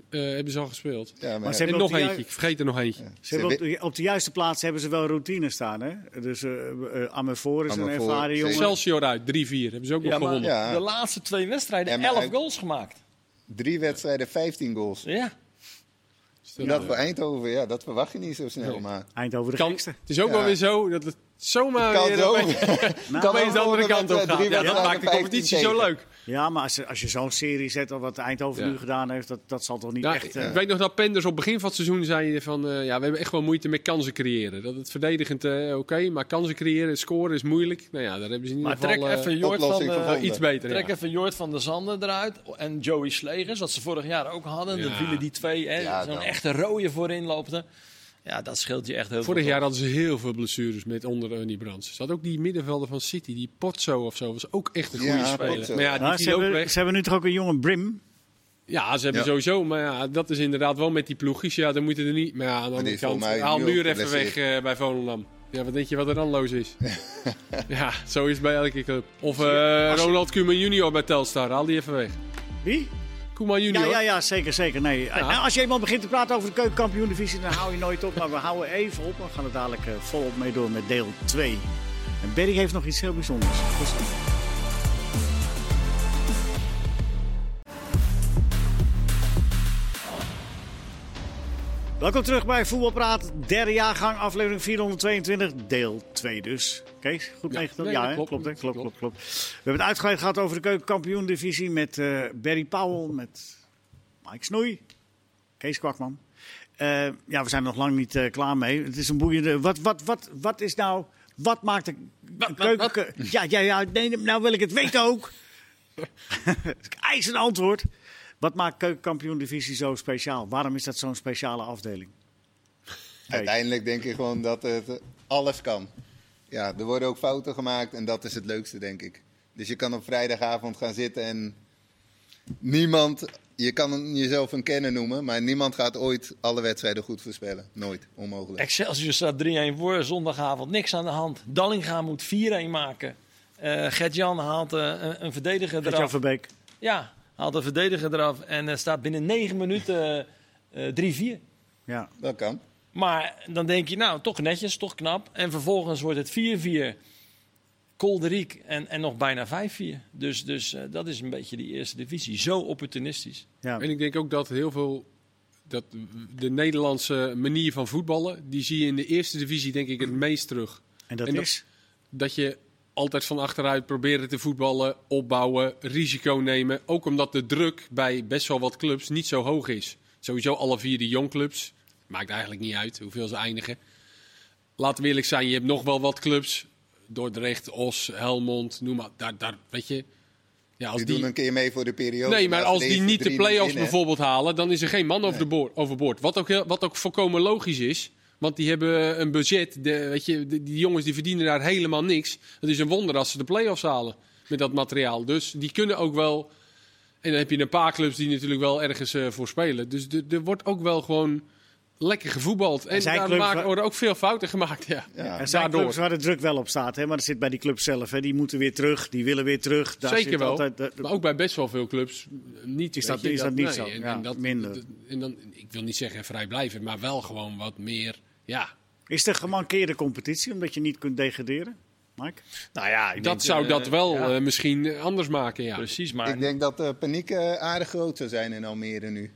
Speaker 2: eh, hebben ze al gespeeld.
Speaker 3: ja,
Speaker 1: Maar
Speaker 3: maar
Speaker 1: ze
Speaker 3: ja,
Speaker 2: En
Speaker 1: hebben
Speaker 2: nog
Speaker 1: ook de ju-
Speaker 2: eentje. Ik vergeet er nog eentje.
Speaker 1: Ze
Speaker 3: Ze
Speaker 1: hebben op, de, op de juiste plaats hebben ze wel routine staan. Hè? Dus eh eh, Amerfoor is een
Speaker 3: Amerfoor,
Speaker 1: ervaren
Speaker 3: zeker.
Speaker 1: jongen.
Speaker 2: Excelsior uit, 3-4. Hebben ze ook nog
Speaker 4: Ja, maar
Speaker 2: gewonnen.
Speaker 3: Ja.
Speaker 4: de laatste twee wedstrijden
Speaker 3: En maar
Speaker 4: 11
Speaker 3: uit-
Speaker 4: goals gemaakt.
Speaker 3: Drie wedstrijden, 15 goals.
Speaker 4: Ja.
Speaker 3: Dat voor Eindhoven, ja, dat verwacht je niet zo snel.
Speaker 2: Nee.
Speaker 3: Maar
Speaker 1: Eindhoven de
Speaker 2: Kan,
Speaker 1: gekste.
Speaker 2: het is ook
Speaker 3: Ja.
Speaker 2: wel weer zo dat het zomaar
Speaker 3: kan
Speaker 2: weer
Speaker 3: zo.
Speaker 2: opeens- opeens de
Speaker 3: *laughs*
Speaker 2: Nou, andere kant op
Speaker 4: eh,
Speaker 2: gaat. Ja, dat maakt de competitie zo leuk.
Speaker 1: Ja, maar als, je- als je zo'n serie zet, al wat Eindhoven
Speaker 2: Ja.
Speaker 1: nu gedaan heeft, dat, dat zal toch niet
Speaker 2: Ja,
Speaker 1: echt...
Speaker 2: ik
Speaker 1: eh,
Speaker 2: weet nog dat Penders op begin van het seizoen zei van eh, ja, we hebben echt wel moeite met kansen creëren. Dat het verdedigend eh, oké, maar kansen creëren, scoren is moeilijk. Nou ja, daar hebben ze in ieder geval
Speaker 4: Maar trek
Speaker 2: eh,
Speaker 4: even Jort van
Speaker 3: oplossing
Speaker 4: de,
Speaker 3: gevonden.
Speaker 2: iets beter.
Speaker 4: trek
Speaker 2: ja.
Speaker 4: even Jort van der Zanden eruit. En Joey Slegers, wat ze vorig jaar ook hadden.
Speaker 2: Ja.
Speaker 4: Dan vielen die twee. hè,
Speaker 3: Ja,
Speaker 4: Zo'n
Speaker 3: dan.
Speaker 4: echte rode voorin loopte. Ja, dat scheelt je echt heel
Speaker 2: Vorig
Speaker 4: veel.
Speaker 2: jaar hadden ze heel veel blessures met onder Ernie Brands. Ze had ook die middenvelder van City, die Potso of zo, was ook echt een goede
Speaker 3: Ja,
Speaker 2: speler.
Speaker 3: Pozzo.
Speaker 2: Maar ja, die
Speaker 1: nou,
Speaker 2: viel
Speaker 1: ze,
Speaker 2: ook
Speaker 1: hebben,
Speaker 2: weg.
Speaker 1: ze hebben nu toch ook een jongen Brim.
Speaker 2: Ja, ze hebben
Speaker 3: Ja.
Speaker 2: sowieso, maar ja, dat is inderdaad wel met die ploegjes. Ja, dan moeten er niet. Maar ja, aan de andere
Speaker 3: is
Speaker 2: kant,
Speaker 3: volgens mij
Speaker 2: haal
Speaker 3: nu
Speaker 2: Muur
Speaker 3: ook
Speaker 2: even weg
Speaker 3: geblesseerd.
Speaker 2: eh, bij Volendam. Ja, wat denk je wat er dan los
Speaker 3: *laughs*
Speaker 2: is? ja, zo is het bij elke club. Of eh, Ronald Koeman junior bij Telstar, haal die even weg.
Speaker 1: Wie?
Speaker 2: Koeman
Speaker 1: Ja,
Speaker 2: junior.
Speaker 1: ja, ja, zeker, zeker. Nee. Nou, als je eenmaal begint te praten over de keukenkampioen-divisie, dan hou je nooit op. Maar we houden even op. We gaan er dadelijk eh, volop mee door met deel 2. En Berry heeft nog iets heel bijzonders. Dus- Welkom terug bij Voetbalpraat, derde jaargang, aflevering 422, deel 2 dus. Kees, goed
Speaker 2: Ja.
Speaker 1: meegedaan?
Speaker 2: Nee,
Speaker 1: Ja,
Speaker 2: dat
Speaker 1: hè?
Speaker 2: klopt.
Speaker 1: klopt, hè? klopt, klopt,
Speaker 2: Klopt.
Speaker 1: klopt. We hebben het uitgebreid gehad over de keukenkampioen-divisie met eh, Barry Powell, met Mike Snoei, Kees Kwakman. Eh, ja, we zijn er nog lang niet eh, klaar mee. Het is een boeiende... Wat, wat, wat, wat is nou... Wat maakt de
Speaker 4: Wat, wat,
Speaker 1: keuken... Ja, ja, ja, nee, nou wil ik het weten ook. *laughs* IJs een antwoord. Wat maakt keukenkampioen-divisie zo speciaal? Waarom is dat zo'n speciale afdeling?
Speaker 3: uiteindelijk denk ik gewoon dat het eh, alles kan. Ja, er worden ook fouten gemaakt en dat is het leukste, denk ik. Dus je kan op vrijdagavond gaan zitten en niemand... Je kan jezelf een kenner noemen, maar niemand gaat ooit alle wedstrijden goed voorspellen. Nooit. Onmogelijk.
Speaker 4: Excelsior staat 3-1 voor, zondagavond niks aan de hand. Dallinga moet 4-1 maken. Eh Gert-Jan haalt eh, een, een verdediger
Speaker 1: Gert-Jan
Speaker 4: eraf.
Speaker 1: Verbeek.
Speaker 4: Ja, haalt een verdediger eraf. En eh, staat binnen 9 minuten eh, eh 3-4.
Speaker 1: Ja.
Speaker 3: Dat kan.
Speaker 4: Maar dan denk je, nou, toch netjes, toch knap. En vervolgens wordt het 4-4. Kolderiek en, en nog bijna 5-4. Dus, dus eh, dat is een beetje die eerste divisie. Zo opportunistisch.
Speaker 1: ja.
Speaker 2: En ik denk ook dat heel veel. Dat de Nederlandse manier van voetballen, die zie je in de eerste divisie denk ik het meest terug.
Speaker 1: En dat
Speaker 2: En dat-
Speaker 1: is...
Speaker 2: dat je altijd van achteruit proberen te voetballen, opbouwen, risico nemen. Ook omdat de druk bij best wel wat clubs niet zo hoog is. Sowieso alle vier de jongclubs. Maakt eigenlijk niet uit hoeveel ze eindigen. Laten we eerlijk zijn, je hebt nog wel wat clubs. Dordrecht, Os, Helmond, noem maar. Daar, daar weet je. Ja, als
Speaker 3: Die,
Speaker 2: die,
Speaker 3: doen een keer mee voor de periode.
Speaker 2: nee, maar
Speaker 3: ze
Speaker 2: als die
Speaker 3: eerste
Speaker 2: niet de
Speaker 3: drie
Speaker 2: play-offs
Speaker 3: winnen,
Speaker 2: bijvoorbeeld halen, dan is er geen man over de boor- overboord. Wat ook, heel- wat ook volkomen logisch is. Want die hebben eh, een budget. De, weet je, de- die jongens die verdienen daar helemaal niks. Het is een wonder als ze de play-offs halen met dat materiaal. Dus die kunnen ook wel. En dan heb je een paar clubs die natuurlijk wel ergens eh, voor spelen. Dus de- er wordt ook wel gewoon lekker gevoetbald. En
Speaker 1: zijn
Speaker 2: daar
Speaker 1: clubs
Speaker 2: maken-
Speaker 1: waar-
Speaker 2: worden ook veel fouten gemaakt. Ja.
Speaker 3: Ja.
Speaker 1: Er zijn
Speaker 2: Daardoor.
Speaker 1: clubs waar de druk wel op staat, hè? maar dat zit bij die club zelf. Hè? Die moeten weer terug, die willen weer terug. Daar
Speaker 2: Zeker
Speaker 1: zit
Speaker 2: wel.
Speaker 1: Altijd, eh,
Speaker 2: Maar ook bij best wel veel clubs eh, niet.
Speaker 1: Is
Speaker 2: weet
Speaker 1: dat-
Speaker 2: je,
Speaker 1: is dat niet zo?
Speaker 2: En, en
Speaker 1: Ja,
Speaker 2: dat,
Speaker 1: minder.
Speaker 2: dat- en dan, ik wil niet zeggen vrijblijvend, maar wel gewoon wat meer. Ja,
Speaker 1: Is er gemankeerde competitie omdat je niet kunt degraderen? Mike?
Speaker 4: Nou ja,
Speaker 2: Dat
Speaker 4: ik denk,
Speaker 2: zou
Speaker 4: eh,
Speaker 2: dat wel
Speaker 4: ja,
Speaker 2: eh, misschien anders maken, ja.
Speaker 4: precies, maar
Speaker 3: Ik denk dat de paniek eh, aardig groot zou zijn in Almere nu.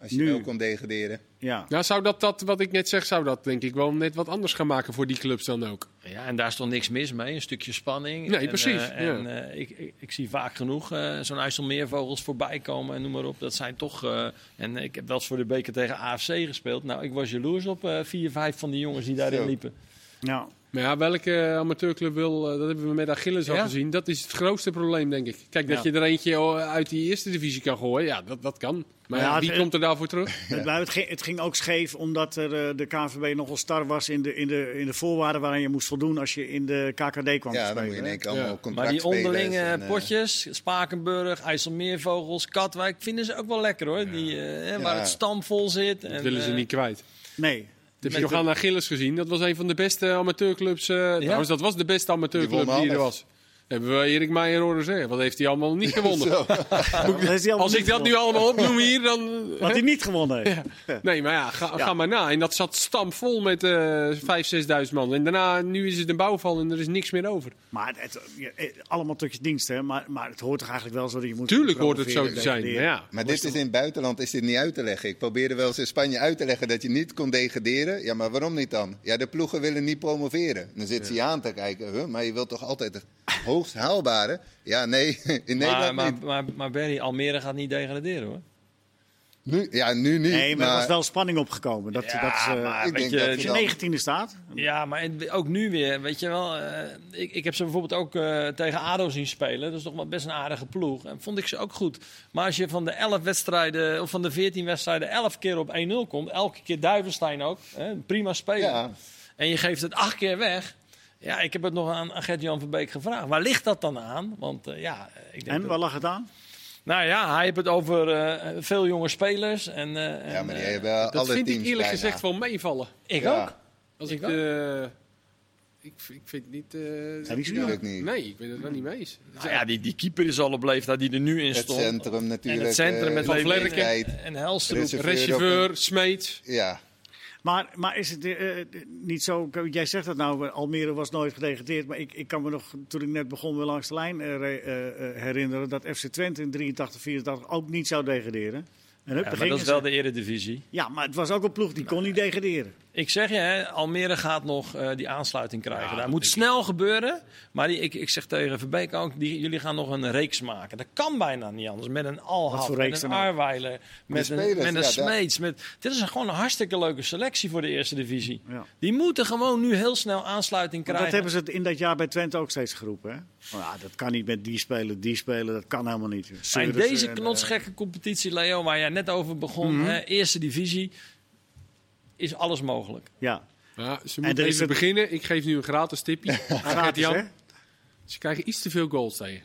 Speaker 3: Als je
Speaker 1: Nu.
Speaker 3: wel kon degraderen.
Speaker 1: Ja.
Speaker 2: Nou, zou dat, dat, wat ik net zeg, zou dat denk ik wel net wat anders gaan maken voor die clubs dan ook.
Speaker 4: Ja, en daar is toch niks mis mee. Een stukje spanning.
Speaker 2: Nee,
Speaker 4: en,
Speaker 2: precies,
Speaker 4: eh,
Speaker 2: ja.
Speaker 4: en eh, ik, ik, ik zie vaak genoeg eh, zo'n IJsselmeervogels voorbij komen en noem maar op. Dat zijn toch... eh, en ik heb wel eens voor de beker tegen AFC gespeeld. Nou, ik was jaloers op eh, vier, vijf van die jongens die daarin
Speaker 3: Zo.
Speaker 4: liepen.
Speaker 1: ja.
Speaker 2: Maar ja, welke amateurclub wil, eh, dat hebben we met Achilles al
Speaker 4: Ja.
Speaker 2: gezien, dat is het grootste probleem, denk ik. Kijk, dat
Speaker 1: Ja.
Speaker 2: je er eentje oh, uit die eerste divisie kan gooien, ja, dat, dat kan. Maar
Speaker 1: Ja,
Speaker 2: ja,
Speaker 1: het-
Speaker 2: wie komt er daarvoor terug?
Speaker 1: Het, het ging, het ging ook scheef omdat er, eh, de KNVB nogal star was in de, in, de, in de voorwaarden waaraan je moest voldoen als je in de KKD kwam te
Speaker 3: Ja, dan moet
Speaker 1: spelen.
Speaker 3: je in één
Speaker 2: Ja.
Speaker 3: keer allemaal
Speaker 4: Maar die
Speaker 3: contractspelers.
Speaker 4: onderlinge
Speaker 3: en, eh,
Speaker 4: potjes, Spakenburg, IJsselmeervogels, Katwijk, vinden ze ook wel lekker hoor. Die, eh, eh, Waar
Speaker 3: Ja.
Speaker 4: het stam vol zit.
Speaker 2: Dat
Speaker 4: en,
Speaker 2: willen ze
Speaker 4: eh,
Speaker 2: niet kwijt.
Speaker 1: Nee.
Speaker 2: Dat heb
Speaker 4: met
Speaker 2: je nog
Speaker 4: de-
Speaker 2: aan Achilles gezien. Dat was een van de beste amateurclubs. eh Trouwens, dat was de beste
Speaker 3: Die
Speaker 2: amateurclub
Speaker 3: wonnen
Speaker 2: die, er
Speaker 3: alles.
Speaker 2: was. Hebben we Erik Meijer horen zeggen. Wat heeft hij allemaal niet gewonnen?
Speaker 3: Zo.
Speaker 1: Dat is hij allemaal
Speaker 2: Als ik
Speaker 1: niet
Speaker 2: dat nu
Speaker 1: gewonnen.
Speaker 2: allemaal opnoem hier, dan...
Speaker 1: Wat hij niet gewonnen heeft.
Speaker 2: Nee, maar ja, ga,
Speaker 1: Ja.
Speaker 2: ga maar na. En dat zat stampvol met eh 5.000, 6.000 man. En daarna, nu is het een bouwval en er is niks meer over.
Speaker 1: Maar het, je- eh, allemaal tukjes dienst, hè? Maar, maar het hoort toch eigenlijk wel zo dat je moet.
Speaker 2: Tuurlijk hoort het zo te
Speaker 1: promoveren,
Speaker 2: zijn. Maar
Speaker 1: degraderen.
Speaker 2: ja.
Speaker 3: Maar dit is in het buitenland is dit niet uit te leggen. Ik probeerde wel eens in Spanje uit te leggen dat je niet kon degraderen. Ja, maar waarom niet dan? Ja, de ploegen willen niet promoveren. Dan zitten ze je aan te kijken. Huh, maar je wilt toch altijd het hoogst haalbare? Ja, nee, *laughs* in
Speaker 4: maar,
Speaker 3: Nederland
Speaker 4: maar,
Speaker 3: niet.
Speaker 4: maar, maar Berry, Almere gaat niet degraderen hoor.
Speaker 3: Nu, ja, nu niet.
Speaker 1: Nee, maar, er was wel spanning opgekomen. Dat,
Speaker 4: Ja,
Speaker 1: dat is, eh,
Speaker 4: maar
Speaker 3: ik
Speaker 4: weet
Speaker 3: denk
Speaker 4: je,
Speaker 3: dat we
Speaker 1: als
Speaker 4: je
Speaker 1: je
Speaker 3: dan-
Speaker 1: 19e staat.
Speaker 4: Ja, maar en ook nu weer, weet je wel. eh, ik, ik heb ze bijvoorbeeld ook eh, tegen ADO zien spelen. Dat is toch wel best een aardige ploeg. En vond ik ze ook goed. Maar als je van de 11 wedstrijden, of van de 14 wedstrijden, 11 keer op 1-0 komt. Elke keer Duivenstein ook. Hè, een prima speler.
Speaker 3: Ja.
Speaker 4: En je geeft het acht keer weg. Ja, ik heb het nog aan aan Gert-Jan van Beek gevraagd. Waar ligt dat dan aan? Want eh, ja, eh, ik denk
Speaker 1: En
Speaker 4: dat-
Speaker 1: waar lag het aan?
Speaker 4: Nou ja, hij heeft het over eh, veel jonge spelers. En, eh,
Speaker 3: Ja,
Speaker 4: en,
Speaker 3: maar die
Speaker 4: eh,
Speaker 3: hebben
Speaker 2: Dat
Speaker 3: alle
Speaker 2: vind ik
Speaker 3: teams
Speaker 2: eerlijk
Speaker 3: bijna.
Speaker 2: gezegd wel meevallen.
Speaker 4: Ik
Speaker 3: Ja.
Speaker 4: ook.
Speaker 2: Als
Speaker 4: Ik
Speaker 2: ik, de- ik, ik vind niet... eh,
Speaker 1: Zijn die zo
Speaker 3: Natuurlijk niet.
Speaker 2: Nee, ik ben het wel niet mee eens.
Speaker 4: Nou ja, die, die keeper is al op leeftijd die er nu in
Speaker 3: Het
Speaker 4: stond.
Speaker 3: centrum natuurlijk.
Speaker 4: En het centrum
Speaker 3: eh,
Speaker 4: met
Speaker 2: Van
Speaker 4: Leeuwen
Speaker 2: Vlerken.
Speaker 3: tijd.
Speaker 4: en, en Helstroep.
Speaker 3: Reserve-
Speaker 2: Rechauffeur, Smeet.
Speaker 3: Ja,
Speaker 1: Maar, maar is het eh, eh, niet zo? Jij zegt dat nou, Almere was nooit gedegradeerd. Maar ik, ik kan me nog, toen ik net begon, weer langs de lijn eh, re- eh, eh, herinneren. dat FC Twente in 83, 84 ook niet zou degraderen. En hup, daar
Speaker 4: Ja, maar dat
Speaker 1: gingen
Speaker 4: is
Speaker 1: ze.
Speaker 4: wel de eredivisie.
Speaker 1: ja, maar het was ook een ploeg die kon niet degraderen.
Speaker 4: Ik zeg je, hè, Almere gaat nog eh, die aansluiting krijgen. dat moet snel gebeuren. Maar die, ik, ik zeg tegen Verbeek ook, die, jullie gaan nog een reeks maken. Dat kan bijna niet anders. Met een Alhaf,
Speaker 1: voor reeks
Speaker 4: met een
Speaker 1: dan ook?
Speaker 4: Arweiler, met, een,
Speaker 3: spelers,
Speaker 4: met een
Speaker 3: ja, daar-
Speaker 4: Smeets. Met, dit is een- gewoon een hartstikke leuke selectie voor de eerste divisie.
Speaker 1: Ja.
Speaker 4: Die moeten gewoon nu heel snel aansluiting
Speaker 1: Maar Dat
Speaker 4: krijgen.
Speaker 1: hebben ze het in dat jaar bij Twente ook steeds geroepen. Hè? Van, ja, dat kan niet met die spelen, die spelen. Dat kan helemaal niet.
Speaker 4: Maar in
Speaker 1: Seurissen
Speaker 4: deze
Speaker 1: en, eh, Mhm.
Speaker 4: knotsgekke competitie, Leo, waar jij net over begon, hè, eerste divisie, is alles mogelijk.
Speaker 1: Ja,
Speaker 2: Ja, ze
Speaker 1: er
Speaker 2: moeten
Speaker 1: is
Speaker 2: even
Speaker 1: het-
Speaker 2: beginnen. Ik geef nu een gratis tipje.
Speaker 1: gratis
Speaker 2: Gert-Jan.
Speaker 1: hè?
Speaker 2: Ze krijgen iets te veel goals tegen.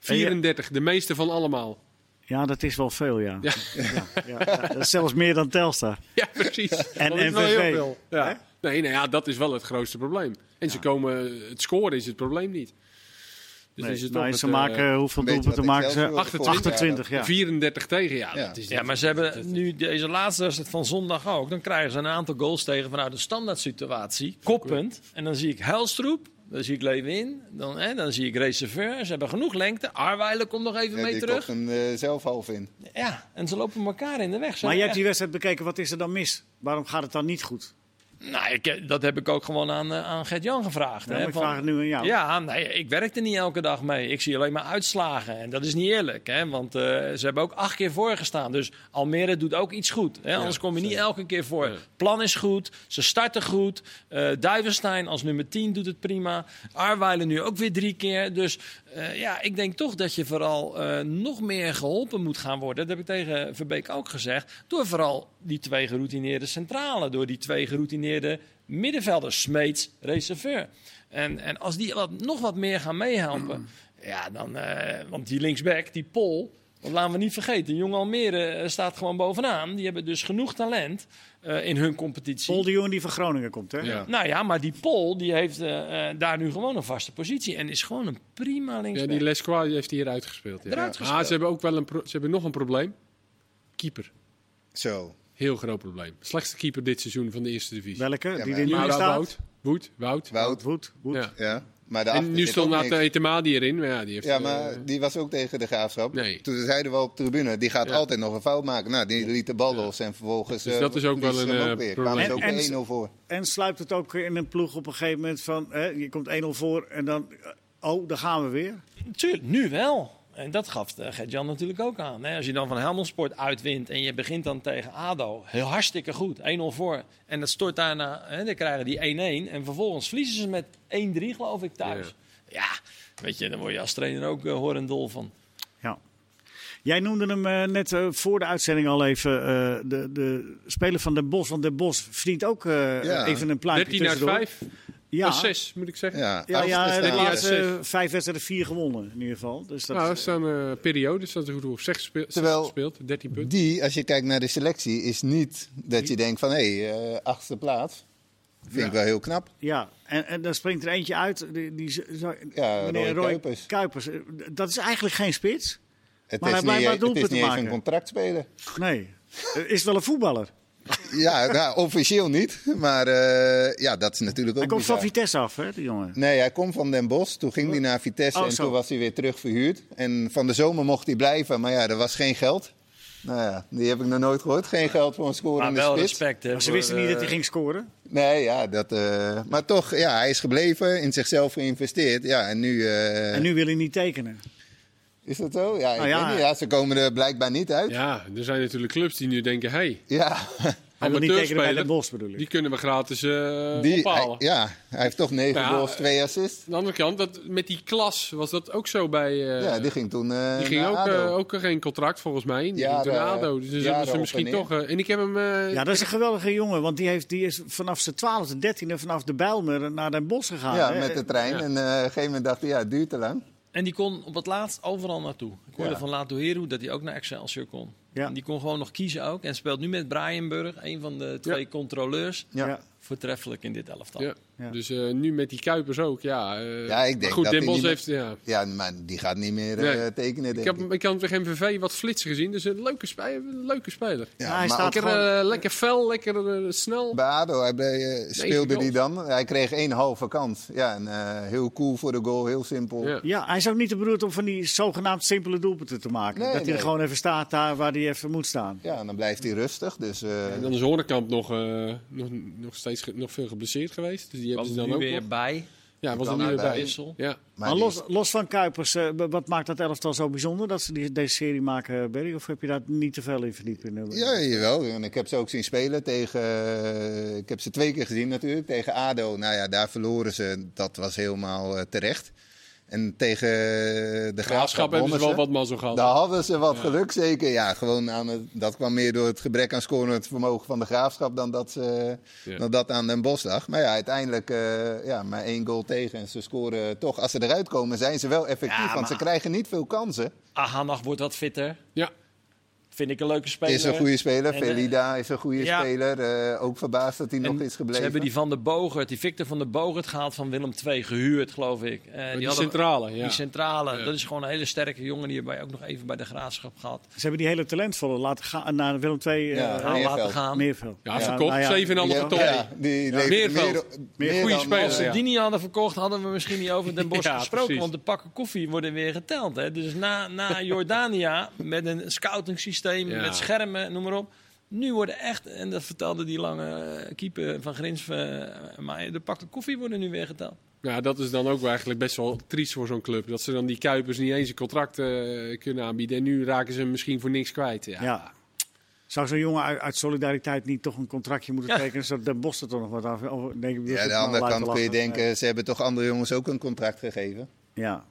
Speaker 2: 34, de meeste van allemaal. *laughs*
Speaker 1: Ja, dat is wel veel, ja.
Speaker 2: Ja.
Speaker 1: Ja, ja, ja. Dat is zelfs meer dan Telstar.
Speaker 2: Ja, precies.
Speaker 1: En
Speaker 2: Dat is wel
Speaker 1: NVV.
Speaker 2: heel veel. Ja. Nee, nou ja, dat is wel het grootste probleem. En ze komen, het scoren is het probleem niet. Dus
Speaker 1: Nee,
Speaker 2: is
Speaker 1: nou,
Speaker 2: het toch
Speaker 1: en
Speaker 2: het,
Speaker 1: ze
Speaker 2: eh,
Speaker 1: maken, hoeveel
Speaker 3: een beetje
Speaker 1: doelpunten
Speaker 3: wat
Speaker 1: maken ze?
Speaker 3: Excelsior vorig jaar
Speaker 1: 28, ja.
Speaker 2: 34 tegen, ja.
Speaker 3: Ja.
Speaker 2: Dat is
Speaker 4: Ja, maar ze hebben nu deze laatste wedstrijd van zondag ook. Dan krijgen ze een aantal goals tegen vanuit een standaard situatie. Koppunt. En dan zie ik Helstroep. Dan zie ik Lewin. Dan, hè, dan zie ik Reserveur. Ze hebben genoeg lengte. Arweiler komt nog even
Speaker 3: ja,
Speaker 4: mee
Speaker 3: die
Speaker 4: terug.
Speaker 3: kocht hem eh, zelf half in.
Speaker 4: Ja, en ze lopen elkaar in de weg. Ze
Speaker 1: Maar je hebt
Speaker 4: hebben
Speaker 1: die wedstrijd bekeken, wat is er dan mis? Waarom gaat het dan niet goed?
Speaker 4: echt- Nou, ik, heb- dat heb ik ook gewoon aan, eh, aan Gert-Jan gevraagd.
Speaker 1: Ja,
Speaker 4: hè,
Speaker 1: maar ik
Speaker 4: van-
Speaker 1: vraag het nu aan jou.
Speaker 4: Ja, nee, ik werk er niet elke dag mee. Ik zie alleen maar uitslagen. En dat is niet eerlijk, hè? want eh, ze hebben ook acht keer voorgestaan. Dus Almere doet ook iets goed. Hè? Anders kom je niet elke keer voor. Plan is goed, ze starten goed. Eh Duivenstein als nummer 10 doet het prima. Arweilen nu ook weer drie keer. Dus eh, ja, ik denk toch dat je vooral eh, nog meer geholpen moet gaan worden. Dat heb ik tegen Verbeek ook gezegd. Door vooral die twee geroutineerde centralen. Door die twee geroutineerde middenvelders. Smeets, reserveur. En, en als die wat, nog wat meer gaan meehelpen. *clears throat* Ja, dan. eh, want die linksback, die Pol. Dat laten we niet vergeten. Jong Almere eh, staat gewoon bovenaan. Die hebben dus genoeg talent eh, in hun competitie.
Speaker 1: Paul de Jong die van Groningen komt, hè?
Speaker 2: Ja.
Speaker 4: Nou ja, maar die Pol die heeft eh, eh, daar nu gewoon een vaste positie. En is gewoon een prima
Speaker 2: Ja,
Speaker 4: linksback.
Speaker 2: die Lesquois heeft hier uitgespeeld. Ja.
Speaker 4: Eruit
Speaker 2: Ah,
Speaker 4: gespeeld.
Speaker 2: ze hebben ook wel een pro- ze hebben nog een probleem. Keeper.
Speaker 3: Zo.
Speaker 2: Heel groot probleem. Slechtste keeper dit seizoen van de eerste divisie.
Speaker 1: Welke?
Speaker 3: Ja,
Speaker 1: die
Speaker 3: maar-
Speaker 1: er nu in
Speaker 2: Mauro
Speaker 1: staat?
Speaker 2: Bout. Woed, Wout.
Speaker 3: Wout.
Speaker 1: Wood, Wood.
Speaker 2: Ja.
Speaker 3: Ja. Maar
Speaker 2: En
Speaker 3: daarachter
Speaker 2: nu
Speaker 3: zit
Speaker 2: stond
Speaker 3: ook
Speaker 2: Nathan
Speaker 3: niks.
Speaker 2: Etemadi erin, maar ja, die heeft...
Speaker 3: Ja,
Speaker 2: eh,
Speaker 3: maar die was ook tegen de graafschap.
Speaker 2: Nee.
Speaker 3: Toen zeiden we al op de tribune, die gaat
Speaker 2: Ja.
Speaker 3: altijd nog een fout maken. Nou, die liet de bal los en vervolgens.
Speaker 2: Dus
Speaker 3: eh,
Speaker 2: dat is ook wel
Speaker 3: verliezen ze
Speaker 2: een,
Speaker 3: hem
Speaker 2: eh,
Speaker 3: weer.
Speaker 2: probleem.
Speaker 3: Kwamen ze ook
Speaker 1: En- en-
Speaker 3: weer 1-0 voor.
Speaker 1: En sluipt het ook in een ploeg op een gegeven moment van, hè, je komt 1-0 voor en dan, eh, oh, daar gaan we weer.
Speaker 4: Tuurlijk, nu wel. En dat gaf eh, Gert-Jan natuurlijk ook aan. Hè? Als je dan van Helmond Sport uitwint en je begint dan tegen ADO. Heel hartstikke goed, 1-0 voor. En dat stort daarna, hè, dan krijgen die 1-1. En vervolgens verliezen ze met 1-3 geloof ik thuis. Ja. weet je, dan word je als trainer ook eh, horendol van.
Speaker 1: Ja. Jij noemde hem eh, net eh, voor de uitzending al even, eh, de, de speler van Den Bos. Want Den Bos verdient ook eh,
Speaker 3: Ja.
Speaker 1: even een plaatje
Speaker 2: 13 uit 5,
Speaker 1: Ja,
Speaker 2: 6 moet ik zeggen.
Speaker 3: Ja,
Speaker 1: ja, ja de
Speaker 3: achtste staan.
Speaker 1: laatste
Speaker 2: Ja,
Speaker 1: eh, vijf wedstrijden vier gewonnen in ieder geval. Dus dat,
Speaker 2: nou, dat staan eh periodes, dat is goed hoe 6 gespeeld,
Speaker 3: Terwijl-
Speaker 2: gespeeld, 13 punten.
Speaker 3: Die, als je kijkt naar de selectie, is niet dat je denkt van hé, eh, achtste plaats. Vind ik wel heel knap.
Speaker 1: Ja, en, en dan springt er eentje uit. Die, die, zo-
Speaker 3: Ja,
Speaker 1: meneer
Speaker 3: Roy
Speaker 1: Roy
Speaker 3: Kuipers.
Speaker 1: Kuipers. eh, Dat is eigenlijk geen spits.
Speaker 3: Het
Speaker 1: Maar hij
Speaker 3: is niet,
Speaker 1: blijft maar
Speaker 3: het is niet
Speaker 1: doelpunten
Speaker 3: eens een
Speaker 1: maken.
Speaker 3: contractspeler.
Speaker 1: Nee. Eh, Is wel een voetballer.
Speaker 3: Ja, nou, officieel niet. Maar eh, ja, dat is natuurlijk ook
Speaker 1: Hij komt van
Speaker 3: bizar.
Speaker 1: Vitesse af, hè, die jongen.
Speaker 3: Nee, hij komt van Den Bosch. Toen ging hij naar Vitesse
Speaker 1: Oh,
Speaker 3: en
Speaker 1: zo.
Speaker 3: toen was hij weer terug verhuurd. En van de zomer mocht hij blijven, maar ja, er was geen geld. Nou ja, die heb ik nog nooit gehoord. Geen geld voor een
Speaker 4: Maar
Speaker 3: scorende
Speaker 4: wel
Speaker 3: spits.
Speaker 4: respect. Hè,
Speaker 1: Maar ze
Speaker 4: voor,
Speaker 1: wisten niet
Speaker 4: eh,
Speaker 1: dat hij ging scoren.
Speaker 3: Nee, ja, dat... eh, maar toch, ja, hij is gebleven, in zichzelf geïnvesteerd. Ja, en nu... eh,
Speaker 1: En nu wil hij niet tekenen.
Speaker 3: Is dat zo? Ja, ik
Speaker 1: Nou ja.
Speaker 3: weet niet. Ja, ze komen er blijkbaar niet uit. Ja.
Speaker 2: Ja, er zijn natuurlijk clubs die nu denken, hé, hey,
Speaker 1: Hij wil niet tekenen bij Den
Speaker 2: amateurspeler,
Speaker 1: Bos, bedoel ik.
Speaker 2: die kunnen we gratis eh
Speaker 3: Die, hij,
Speaker 2: ophalen.
Speaker 3: ja, hij heeft toch negen
Speaker 2: Ja,
Speaker 3: goals,
Speaker 2: eh,
Speaker 3: twee assists.
Speaker 2: Aan de andere kant, dat, met die klas was dat ook zo bij... eh,
Speaker 3: ja, die ging toen eh,
Speaker 2: Die ging
Speaker 3: naar
Speaker 2: ook,
Speaker 3: ADO.
Speaker 2: eh, ook geen contract volgens mij. Die
Speaker 3: Jaren,
Speaker 2: ging toen naar ADO. Dus dan
Speaker 3: jaren
Speaker 2: zullen
Speaker 3: op
Speaker 2: ze
Speaker 3: en
Speaker 2: misschien
Speaker 3: neer.
Speaker 2: toch... eh, en ik heb hem... eh,
Speaker 1: Ja, dat is een geweldige jongen, want die, heeft, die is vanaf zijn 12e, 13e vanaf de Bijlmer naar Den Bosch gegaan.
Speaker 3: ja,
Speaker 1: hè.
Speaker 3: met de trein.
Speaker 2: Ja.
Speaker 3: En eh, op een gegeven moment dacht hij, ja, het duurt te lang.
Speaker 4: En die kon op het laatst overal naartoe. Ik hoorde
Speaker 3: Ja.
Speaker 4: van Lato Heru dat hij ook naar Excelsior kon.
Speaker 1: Ja.
Speaker 4: En die kon gewoon nog kiezen ook. En speelt nu met Brianburg, een van de twee controleurs.
Speaker 3: Ja.
Speaker 1: Ja.
Speaker 3: Ja.
Speaker 4: Voortreffelijk in dit elftal.
Speaker 2: Ja.
Speaker 1: Ja.
Speaker 2: Dus eh, nu met die Kuipers ook, ja. eh,
Speaker 3: Ja, ik denk
Speaker 2: maar goed,
Speaker 3: dat
Speaker 2: Den
Speaker 3: hij
Speaker 2: Bosch
Speaker 3: niet
Speaker 2: heeft... Ja.
Speaker 3: maar die gaat niet meer eh,
Speaker 2: Nee.
Speaker 3: tekenen,
Speaker 2: Ik,
Speaker 3: denk
Speaker 2: heb,
Speaker 3: ik.
Speaker 2: hem- ik had hem tegen MVV wat flitsen gezien. Dus een leuke, spe- een leuke speler.
Speaker 3: Ja,
Speaker 1: Ja, Nou, hij
Speaker 3: maar
Speaker 1: staat
Speaker 2: Lekker,
Speaker 1: gewoon-
Speaker 2: eh, lekker fel, lekker eh, snel.
Speaker 3: Bij ADO hij, ble- eh, speelde
Speaker 2: goals.
Speaker 3: hij dan. Hij kreeg één halve kans. Ja, en eh, heel cool voor de goal, heel simpel.
Speaker 2: Ja.
Speaker 1: Ja, hij is ook niet te beroerd om van die zogenaamd simpele doelpunten te maken.
Speaker 3: Nee,
Speaker 1: dat hij
Speaker 3: nee.
Speaker 1: er gewoon even staat daar waar hij even moet staan.
Speaker 3: Ja, en dan blijft hij rustig. Dus, eh,
Speaker 2: En dan is Hornekamp nog, eh, nog, nog steeds ge- nog veel geblesseerd geweest. Dus die hebben
Speaker 4: Was
Speaker 2: ze
Speaker 4: er
Speaker 2: dan
Speaker 4: nu
Speaker 2: ook
Speaker 4: weer
Speaker 2: nog.
Speaker 4: bij.
Speaker 2: Ja, was er
Speaker 3: Dan
Speaker 2: nu weer
Speaker 3: erbij.
Speaker 2: bij.
Speaker 4: Wissel.
Speaker 2: Ja.
Speaker 1: Maar,
Speaker 3: die-
Speaker 1: los, los van Kuipers, eh, b- wat maakt dat elftal zo bijzonder dat ze die, deze serie maken, eh, Berry? Of heb je daar niet te veel in verdiept? in? eh?
Speaker 3: Ja, jawel. En ik heb ze ook zien spelen tegen. eh, Ik heb ze twee keer gezien natuurlijk. Tegen Ado. Nou ja, daar verloren ze. Dat was helemaal eh, terecht. En tegen eh, de
Speaker 2: Graafschap
Speaker 3: graafschap
Speaker 2: hebben ze
Speaker 3: wonnen
Speaker 2: wel wat mazzel gehad.
Speaker 3: Daar hadden ze wat geluk, zeker. Ja, gewoon aan het, dat kwam meer door het gebrek aan scorend vermogen van de graafschap dan dat, ze,
Speaker 2: Ja.
Speaker 3: dan dat aan Den Bosch lag. Maar ja, uiteindelijk eh, ja, maar één goal tegen. En ze scoren toch. Als ze eruit komen, zijn ze wel effectief.
Speaker 4: Ja,
Speaker 3: Want
Speaker 4: maar-
Speaker 3: ze krijgen niet veel kansen.
Speaker 4: Ahanag wordt wat fitter.
Speaker 2: Ja.
Speaker 4: Vind ik een leuke speler.
Speaker 3: Is een goede speler.
Speaker 4: En, eh,
Speaker 3: Velida is een goede
Speaker 4: ja.
Speaker 3: speler. Eh, ook verbaasd dat hij nog
Speaker 4: En
Speaker 3: is gebleven.
Speaker 4: Ze hebben die Van der Bogert, die Victor van der Bogert gehaald van Willem II, gehuurd geloof ik. Eh,
Speaker 2: Die,
Speaker 4: hadden-
Speaker 2: centrale. Ja.
Speaker 4: Die centrale,
Speaker 2: Ja.
Speaker 4: dat is gewoon een hele sterke jongen. Die hebben wij ook nog even bij de graafschap gehad.
Speaker 1: Ze hebben die hele talentvolle laten gaan naar Willem II. eh,
Speaker 3: Ja,
Speaker 1: eh,
Speaker 4: Aan
Speaker 3: Meerveld.
Speaker 4: laten gaan.
Speaker 1: Meerveld.
Speaker 2: Ja, verkocht.
Speaker 1: nou
Speaker 2: 7,5
Speaker 3: Ja,
Speaker 2: geton.
Speaker 3: ja, die levert
Speaker 2: Meerveld.
Speaker 3: meer
Speaker 2: Goeie
Speaker 3: dan-
Speaker 2: speler,
Speaker 4: Als ze
Speaker 2: Ja.
Speaker 4: die niet hadden verkocht, hadden we misschien niet over Den Bosch
Speaker 2: *laughs* Ja,
Speaker 4: gesproken.
Speaker 2: precies.
Speaker 4: Want de pakken koffie worden weer geteld. Hè? Dus
Speaker 2: *laughs*
Speaker 4: na, na Jordania, met een scouting systeem,
Speaker 2: Ja.
Speaker 4: met schermen, noem maar op. Nu worden echt, en dat vertelde die lange eh, keeper van Grins, maar de pakken koffie worden nu weer geteld.
Speaker 2: Ja, dat is dan ook wel eigenlijk best wel triest voor zo'n club. Dat ze dan die Kuipers niet eens een contract eh, kunnen aanbieden. En nu raken ze hem misschien voor niks kwijt. Ja.
Speaker 1: Ja. Zou zo'n jongen uit, uit solidariteit niet toch een contractje moeten
Speaker 4: Ja.
Speaker 1: tekenen, zodat Den Bosch er toch nog wat af... Of, denk ik,
Speaker 3: Ja, aan de andere kant kun je denken, ze hebben toch andere jongens ook een contract gegeven.
Speaker 1: Ja.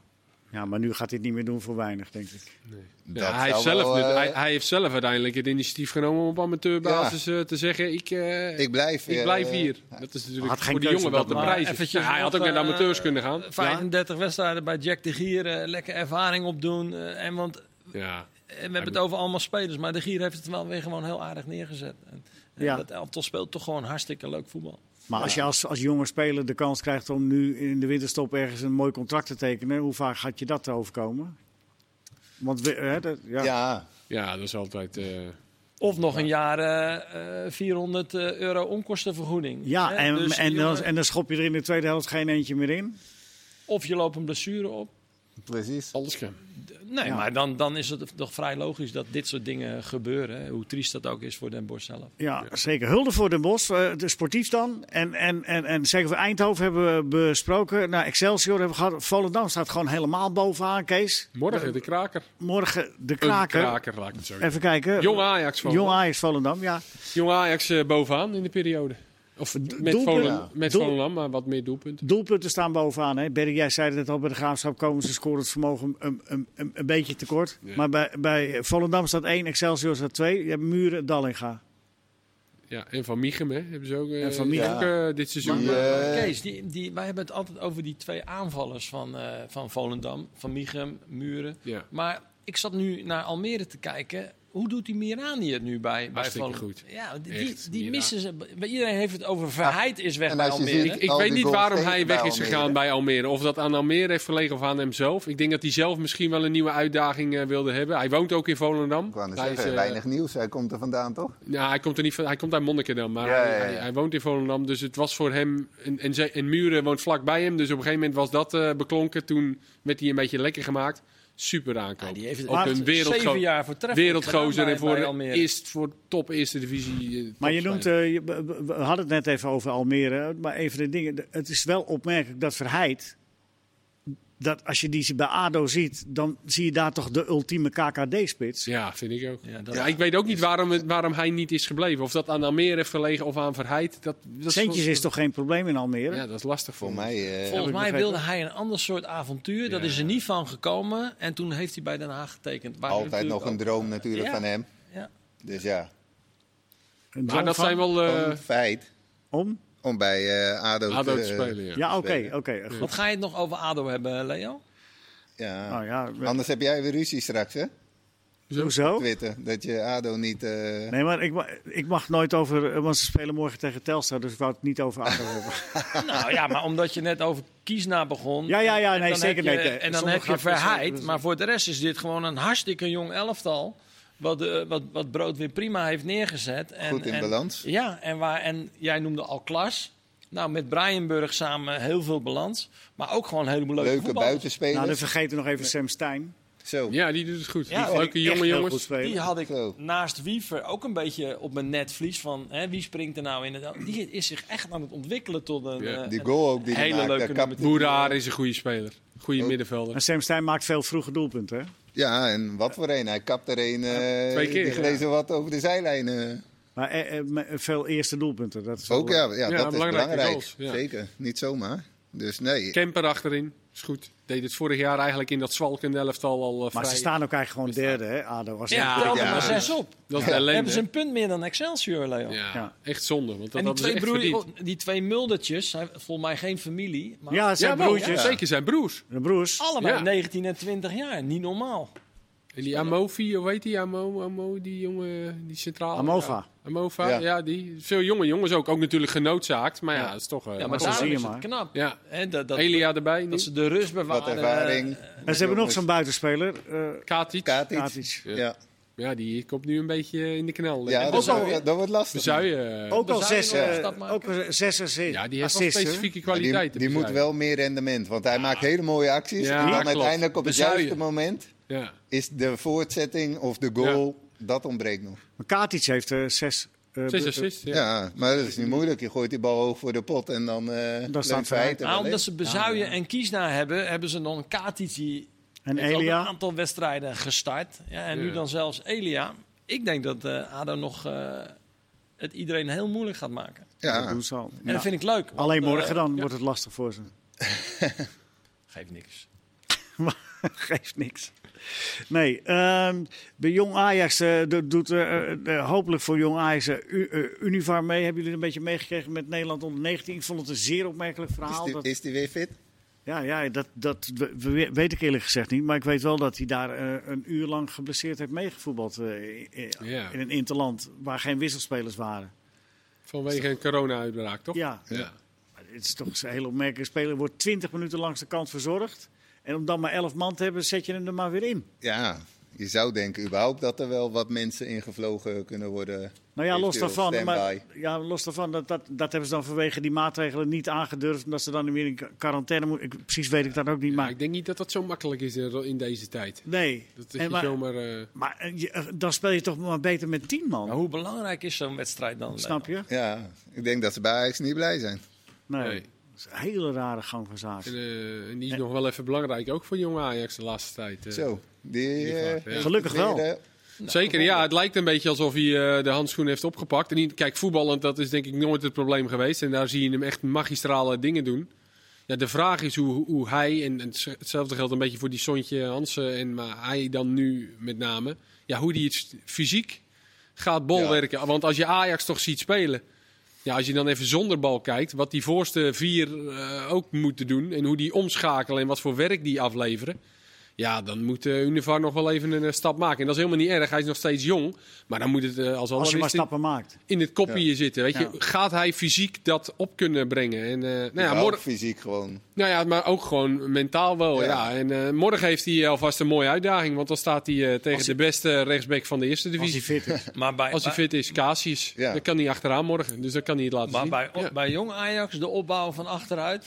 Speaker 1: ja, maar nu gaat dit niet meer doen voor weinig, denk ik.
Speaker 2: Ja,
Speaker 3: Dat
Speaker 2: hij, heeft
Speaker 3: zou
Speaker 2: zelf,
Speaker 3: wel,
Speaker 2: de-
Speaker 3: eh,
Speaker 2: hij, hij heeft zelf uiteindelijk het initiatief genomen om op amateurbasis eh, te zeggen: ik, eh, ik,
Speaker 3: Ik blijf, eh,
Speaker 2: blijf hier. Dat is
Speaker 1: had
Speaker 2: natuurlijk
Speaker 1: geen
Speaker 2: voor die
Speaker 1: keuze
Speaker 2: jongen wel
Speaker 1: op
Speaker 2: te
Speaker 1: dat
Speaker 4: moment.
Speaker 2: prijzen.
Speaker 4: Eventjes
Speaker 2: Ja, hij had
Speaker 4: nog,
Speaker 2: ook naar de
Speaker 4: eh,
Speaker 2: amateurs kunnen gaan.
Speaker 4: 35 wedstrijden bij Jack de Gier, eh, lekker ervaring opdoen. eh, en want eh,
Speaker 2: Ja.
Speaker 4: we hebben het over allemaal spelers, maar de Gier heeft het wel weer gewoon heel aardig neergezet. En, en
Speaker 1: Ja.
Speaker 4: dat elftal speelt toch gewoon hartstikke leuk voetbal.
Speaker 1: Maar als je als, als jonge speler de kans krijgt om nu in de winterstop ergens een mooi contract te tekenen, hoe vaak gaat je dat overkomen? Want we, hè, dat, ja.
Speaker 3: Ja,
Speaker 2: ja, dat is altijd. eh,
Speaker 4: Of nog een jaar eh, eh, 400 euro onkostenvergoeding.
Speaker 1: Ja,
Speaker 4: Hè,
Speaker 1: en,
Speaker 4: dus
Speaker 1: en, dan,
Speaker 4: jongen,
Speaker 1: en dan schop je er in de tweede helft geen eentje meer in.
Speaker 4: Of je loopt een blessure op.
Speaker 3: Precies.
Speaker 2: Alles kan.
Speaker 4: Nee,
Speaker 1: Ja.
Speaker 4: maar dan, dan is het toch vrij logisch dat dit soort dingen gebeuren. hè, Hoe triest dat ook is voor Den Bosch zelf.
Speaker 1: Ja, zeker. Hulde voor Den Bosch, eh, de sportief dan. En, en, en, en zeker voor Eindhoven hebben we besproken. Nou, Excelsior hebben we gehad. Volendam staat gewoon helemaal bovenaan, Kees.
Speaker 2: Morgen de kraker.
Speaker 1: Morgen de
Speaker 2: Een
Speaker 1: kraker.
Speaker 2: kraker, laat ik het zo zeggen.
Speaker 1: Even kijken.
Speaker 2: Jong Ajax van.
Speaker 1: Jong Ajax Volendam, ja.
Speaker 2: Jong Ajax eh, bovenaan in de periode. Of met,
Speaker 1: doelpunten.
Speaker 2: Volendam, met
Speaker 1: Doel-
Speaker 2: Volendam, maar wat meer doelpunten.
Speaker 1: Doelpunten staan bovenaan. Hè. Berry, jij zei het net al, bij de Graafschap komen ze scoren het vermogen een, een, een, een beetje tekort.
Speaker 2: Ja.
Speaker 1: Maar bij, bij Volendam staat 1, Excelsior staat 2. Je hebt Muren, Dallinga.
Speaker 2: Ja, en Van Miechem hè, hebben ze ook, eh,
Speaker 1: En Van Miechem.
Speaker 2: ook, eh, dit seizoen.
Speaker 3: Die,
Speaker 2: eh,
Speaker 3: eh,
Speaker 4: Kees, die, die, wij hebben het altijd over die twee aanvallers van, eh, van Volendam. Van Michum, Muren.
Speaker 2: ja.
Speaker 4: Maar ik zat nu naar Almere te kijken. Hoe doet die Mirani het nu bij, bij
Speaker 2: Hartstikke
Speaker 4: Volendam?
Speaker 2: goed.
Speaker 4: Ja, die,
Speaker 2: Echt,
Speaker 4: die- die
Speaker 2: Mira.
Speaker 4: missen ze. Bij- Iedereen heeft het over Verheid is weg
Speaker 3: en
Speaker 4: bij
Speaker 3: als je
Speaker 4: Almere.
Speaker 3: ziet-
Speaker 2: Ik, ik
Speaker 3: Al die
Speaker 2: weet niet
Speaker 3: goals
Speaker 2: waarom
Speaker 3: tegen
Speaker 2: hij weg
Speaker 3: bij
Speaker 2: is
Speaker 3: Almere.
Speaker 2: gegaan bij Almere. Of dat aan Almere heeft gelegen of aan hemzelf. Ik denk dat hij zelf misschien wel een nieuwe uitdaging eh, wilde hebben. Hij woont ook in Volendam.
Speaker 3: Ik wou net
Speaker 2: hij,
Speaker 3: zeggen,
Speaker 2: eh,
Speaker 3: weinig nieuws. Hij komt er vandaan, toch?
Speaker 2: Nou, hij komt er niet van. Hij komt uit Monnikendam, maar
Speaker 3: Ja,
Speaker 2: hij,
Speaker 3: ja, ja.
Speaker 2: Hij, hij woont in Volendam, dus het was voor hem. En, en, ze- en Muren woont vlakbij hem, dus op een gegeven moment was dat eh, beklonken. Toen werd hij een beetje lekker gemaakt. Super aankoop.
Speaker 4: Ja, die heeft het
Speaker 2: ook
Speaker 4: echt
Speaker 2: een
Speaker 4: zeven
Speaker 2: wereldgo
Speaker 4: jaar voortreffelijk gedaan
Speaker 2: wereldgozer
Speaker 4: bij-
Speaker 2: en voor,
Speaker 4: bij
Speaker 2: de
Speaker 4: Almere.
Speaker 2: eerst, voor top eerste divisie. eh,
Speaker 1: Maar je
Speaker 2: topspeler.
Speaker 1: noemt, eh, je- we- we- we hadden het net even over Almere. Maar even de dingen. de- Het is wel opmerkelijk dat Verheid. Dat als je die bij ADO ziet, dan zie je daar toch de ultieme KKD-spits.
Speaker 2: Ja, vind ik ook.
Speaker 4: Ja, dat-
Speaker 2: Ja, ik weet ook niet waarom, het- waarom hij niet is gebleven. Of dat aan Almere heeft gelegen of aan Verheid. Dat, dat
Speaker 1: Centjes is toch geen probleem in Almere?
Speaker 2: Ja, dat is lastig voor
Speaker 3: Voor
Speaker 2: mij.
Speaker 3: mij. eh,
Speaker 4: Volgens
Speaker 1: ik
Speaker 4: mij
Speaker 1: begrepen.
Speaker 4: wilde hij een ander soort avontuur. Dat
Speaker 2: Ja.
Speaker 4: is er niet van gekomen. En toen heeft hij bij Den Haag getekend. Waar
Speaker 3: altijd
Speaker 4: natuurlijk
Speaker 3: nog een
Speaker 4: ook-
Speaker 3: droom natuurlijk
Speaker 4: Ja.
Speaker 3: van hem.
Speaker 4: Ja.
Speaker 3: Dus ja,
Speaker 1: Een droom
Speaker 2: Maar dat
Speaker 1: van-
Speaker 2: zijn wel eh,
Speaker 3: gewoon het feit
Speaker 1: Om?
Speaker 3: om bij eh ADO,
Speaker 2: ADO te
Speaker 3: eh,
Speaker 2: spelen. Ja.
Speaker 1: Ja, oké,
Speaker 3: spelen.
Speaker 1: oké. goed.
Speaker 4: Wat ga je het nog over ADO hebben, Leo?
Speaker 3: Ja.
Speaker 1: Nou ja, we-
Speaker 3: Anders heb jij weer ruzie straks, hè?
Speaker 1: hoezo?
Speaker 3: Twitter, dat je ADO niet... eh,
Speaker 1: Nee, maar ik, ma- ik mag nooit over. eh, Want ze spelen morgen tegen Telstar, dus ik wou het niet over ADO hebben.
Speaker 4: nou ja, maar omdat je net over Kiesna begon.
Speaker 1: Ja, ja, ja,
Speaker 4: En
Speaker 1: nee,
Speaker 4: dan
Speaker 1: zeker
Speaker 4: heb
Speaker 1: niet.
Speaker 4: je-
Speaker 1: nee.
Speaker 4: En dan
Speaker 1: Zondag
Speaker 4: heb je
Speaker 1: gaat het- dus-
Speaker 4: verheid. Maar voor de rest is dit gewoon een hartstikke jong elftal. Wat, eh, wat, wat Brood weer prima heeft neergezet. En,
Speaker 3: Goed in
Speaker 4: en-
Speaker 3: balans.
Speaker 4: Ja, en, waar, en jij noemde al Klas. Nou, met Brianburg samen heel veel balans. Maar ook gewoon een heleboel leuke,
Speaker 3: leuke
Speaker 4: voetballers.
Speaker 1: Nou, dan
Speaker 3: buitenspelers.
Speaker 1: vergeten we nog even Sam Stein.
Speaker 3: Zo.
Speaker 2: ja, die doet het goed.
Speaker 4: Ja,
Speaker 2: die leuke
Speaker 1: Echt
Speaker 2: jonge
Speaker 1: heel
Speaker 2: jongens.
Speaker 1: goed spelen.
Speaker 4: Die had ik
Speaker 3: Zo.
Speaker 4: naast Wiever ook een beetje op mijn netvlies van hè, wie springt er nou in. het- Die is zich echt aan het ontwikkelen tot een,
Speaker 2: Ja,
Speaker 4: eh,
Speaker 3: Die
Speaker 4: een
Speaker 3: goal ook die hij
Speaker 4: hele
Speaker 3: maakte,
Speaker 4: leuke
Speaker 3: kap-
Speaker 4: nummer tien.
Speaker 2: Boeraar is een goede speler. Goede
Speaker 3: Oh.
Speaker 2: middenvelder.
Speaker 1: En Sam Stein maakt veel vroege doelpunten. hè?
Speaker 3: Ja, en wat voor een. Hij kapt er een. eh,
Speaker 2: twee keer,
Speaker 3: die
Speaker 2: ja.
Speaker 3: gleed zo wat over de zijlijn. eh.
Speaker 1: Maar eh, eh, me- veel eerste doelpunten. Dat is
Speaker 3: Ook
Speaker 1: wel-
Speaker 3: ja, ja, dat is
Speaker 2: eh, belangrijke
Speaker 3: belangrijk.
Speaker 2: goals, ja.
Speaker 3: Zeker, niet zomaar. Dus nee,
Speaker 2: Kemper achterin. Is goed. Deed het vorig jaar eigenlijk in dat Zwalken elftal al eh,
Speaker 1: Maar ze
Speaker 2: vrij.
Speaker 1: staan ook eigenlijk gewoon derde, hè, ADO. Als
Speaker 4: Ja,
Speaker 1: ja.
Speaker 4: tel er
Speaker 3: ja.
Speaker 4: maar zes op.
Speaker 2: Dat is
Speaker 3: Ja.
Speaker 2: ellende.
Speaker 4: Hebben ze een punt meer dan Excelsior, Leo?
Speaker 2: ja,
Speaker 1: Ja.
Speaker 2: echt zonde. Want dat
Speaker 4: en die
Speaker 2: hadden ze
Speaker 4: twee,
Speaker 2: echt
Speaker 4: broer,
Speaker 2: verdiend.
Speaker 4: oh, die twee muldertjes zijn volgens mij geen familie. Maar
Speaker 1: ja, het zijn
Speaker 2: Ja, wel,
Speaker 1: broertjes.
Speaker 2: ja, zeker zijn broers.
Speaker 1: De broers.
Speaker 4: allebei
Speaker 2: Ja.
Speaker 4: 19 en 20 jaar. Niet normaal.
Speaker 2: En die Amofi, hoe heet die? Amo, Amo, die jongen, die centraal.
Speaker 1: Amova.
Speaker 2: Ja. Amova,
Speaker 3: Ja.
Speaker 2: ja. die. Veel jonge jongens ook. Ook natuurlijk genoodzaakt. Maar ja, dat is toch... eh,
Speaker 4: Ja, maar
Speaker 1: zo
Speaker 4: daarom
Speaker 1: zie je
Speaker 4: is het
Speaker 1: maar.
Speaker 4: knap.
Speaker 2: ja.
Speaker 4: Hè, dat, dat,
Speaker 2: Elia erbij.
Speaker 4: dat
Speaker 2: Dat
Speaker 4: ze de rust bewaren.
Speaker 3: wat ervaring.
Speaker 1: En ze hebben nog zo'n buitenspeler. eh
Speaker 2: eh, Katic.
Speaker 3: Katic.
Speaker 1: Katic.
Speaker 2: Ja.
Speaker 3: Ja,
Speaker 2: Ja, die komt nu een beetje in de knel.
Speaker 3: ja
Speaker 2: En
Speaker 3: dat,
Speaker 1: al-
Speaker 3: wordt- dat wordt lastig.
Speaker 2: Bezuijen, eh,
Speaker 1: ook, al
Speaker 4: Bezuilen
Speaker 1: zes,
Speaker 4: nog een
Speaker 1: eh,
Speaker 4: stap maken.
Speaker 1: ook al zes assist.
Speaker 2: Ja, die heeft wel
Speaker 1: assists, hè?
Speaker 2: specifieke
Speaker 3: Maar die-
Speaker 2: kwaliteiten.
Speaker 3: Die, moet
Speaker 2: Bezuijen.
Speaker 3: wel meer rendement, want hij maakt hele mooie acties.
Speaker 2: Ja,
Speaker 3: en dan
Speaker 2: klopt.
Speaker 3: uiteindelijk op het
Speaker 2: Bezuijen.
Speaker 3: juiste moment
Speaker 2: Ja.
Speaker 3: is de voortzetting of de goal, dat ontbreekt nog.
Speaker 1: Maar Katic heeft eh, zes... eh,
Speaker 2: Zes
Speaker 1: bu-
Speaker 2: assists. Ja.
Speaker 3: Ja. maar dat is niet moeilijk. Je gooit die bal hoog voor de pot en dan eh
Speaker 1: Dan staat Verheid.
Speaker 3: leunt Verheid er
Speaker 4: Nou,
Speaker 3: wel in.
Speaker 4: omdat ze Bezuijen en Kiesna hebben, hebben ze dan Katic die
Speaker 1: En
Speaker 4: heeft ook een
Speaker 1: Elia.
Speaker 4: aantal wedstrijden gestart. Ja, en nu
Speaker 2: Ja.
Speaker 4: dan zelfs Elia. Ik denk dat eh, ADO nog eh, het iedereen heel moeilijk gaat maken.
Speaker 1: Dat
Speaker 3: Ja,
Speaker 1: doen ze al.
Speaker 4: En
Speaker 1: Ja.
Speaker 4: dat vind ik leuk. want,
Speaker 1: Alleen
Speaker 4: eh,
Speaker 1: morgen dan wordt het lastig voor ze. *laughs*
Speaker 4: Geeft niks.
Speaker 1: Geeft niks. Nee, ehm, bij Jong Ajax eh, do- doet eh, eh, eh, hopelijk voor Jong Ajax eh, U- eh, Univar mee. Hebben jullie het een beetje meegekregen met Nederland onder 19? Ik vond het een zeer opmerkelijk
Speaker 3: is
Speaker 1: verhaal.
Speaker 3: die,
Speaker 1: dat-
Speaker 3: is die weer fit?
Speaker 1: Ja, ja dat, dat we- we- weet ik eerlijk gezegd niet. Maar ik weet wel dat hij daar eh, een uur lang geblesseerd heeft meegevoetbald. eh, i- i-
Speaker 2: Ja.
Speaker 1: In een interland waar geen wisselspelers waren.
Speaker 2: Vanwege een corona-uitbraak, toch?
Speaker 1: Ja,
Speaker 2: Ja.
Speaker 1: maar het is toch een heel opmerkelijk speler. Wordt 20 minuten langs de kant verzorgd. En om dan maar 11 man te hebben, zet je hem er maar weer in.
Speaker 3: Ja, je zou denken überhaupt dat er wel wat mensen ingevlogen kunnen worden.
Speaker 1: Nou ja, los
Speaker 3: Eventueel
Speaker 1: daarvan, maar,
Speaker 3: standby.
Speaker 1: ja, los daarvan dat, dat, dat hebben ze dan vanwege die maatregelen niet aangedurfd. Omdat ze dan weer in quarantaine moeten. Ik- Precies weet ik dat ook niet,
Speaker 2: Maar
Speaker 1: maar
Speaker 2: ik denk niet dat dat zo makkelijk is eh, in in deze tijd.
Speaker 1: nee.
Speaker 2: Dat is
Speaker 1: En
Speaker 2: niet
Speaker 1: maar,
Speaker 2: zomaar... eh,
Speaker 1: maar, eh, je- eh, dan speel je toch maar beter met tien man,
Speaker 2: Nou,
Speaker 4: Maar hoe belangrijk is zo'n wedstrijd dan?
Speaker 1: snap je?
Speaker 3: Ja, ik denk dat ze bij Ajax niet blij zijn.
Speaker 1: Nee.
Speaker 2: Nee.
Speaker 1: Dat is een hele rare gang van zaken.
Speaker 2: En, eh, en die is nog wel even belangrijk, ook voor jonge Ajax de laatste tijd. eh.
Speaker 3: Zo, die...
Speaker 2: die
Speaker 3: eh,
Speaker 2: vraag, ja.
Speaker 1: Gelukkig wel.
Speaker 3: weer, eh,
Speaker 2: Nou, Zeker, ja. Het lijkt een beetje alsof hij eh, de handschoen heeft opgepakt. En niet, kijk, voetballend, dat is denk ik nooit het probleem geweest. En daar zie je hem echt magistrale dingen doen. Ja, de vraag is hoe, hoe hij, en, en hetzelfde geldt een beetje voor die Sontje Hansen, en, maar hij dan nu met name. Ja, hoe hij het s- fysiek gaat bolwerken. Want als je Ajax toch ziet spelen, ja, als je dan even zonder bal kijkt, wat die voorste vier eh, ook moeten doen. En hoe die omschakelen en wat voor werk die afleveren. Ja, dan moet eh Univar nog wel even een eh, stap maken. En dat is helemaal niet erg. Hij is nog steeds jong. Maar dan moet het eh, als
Speaker 1: Als je maar
Speaker 2: allereerste in,
Speaker 1: stappen maakt.
Speaker 2: in het kopje zitten. Weet je,
Speaker 1: Ja.
Speaker 2: gaat hij fysiek dat op kunnen brengen? En, eh, nou, ja,
Speaker 3: überhaupt
Speaker 2: morgen,
Speaker 3: fysiek gewoon.
Speaker 2: nou ja, maar ook gewoon mentaal wel. Ja.
Speaker 3: Ja.
Speaker 2: En eh, morgen heeft hij alvast een mooie uitdaging. Want dan staat hij eh, tegen
Speaker 4: Als
Speaker 2: de beste rechtsback van de eerste
Speaker 1: Als hij
Speaker 2: divisie.
Speaker 1: fit
Speaker 2: *laughs*
Speaker 1: is.
Speaker 4: eh, Maar bij,
Speaker 2: Als hij fit is, Casius.
Speaker 3: Ja.
Speaker 2: Dan kan hij achteraan morgen. Dus dat kan hij het laten
Speaker 4: maar
Speaker 2: zien.
Speaker 4: bij,
Speaker 2: Ja.
Speaker 4: bij jong Ajax, de opbouw van achteruit.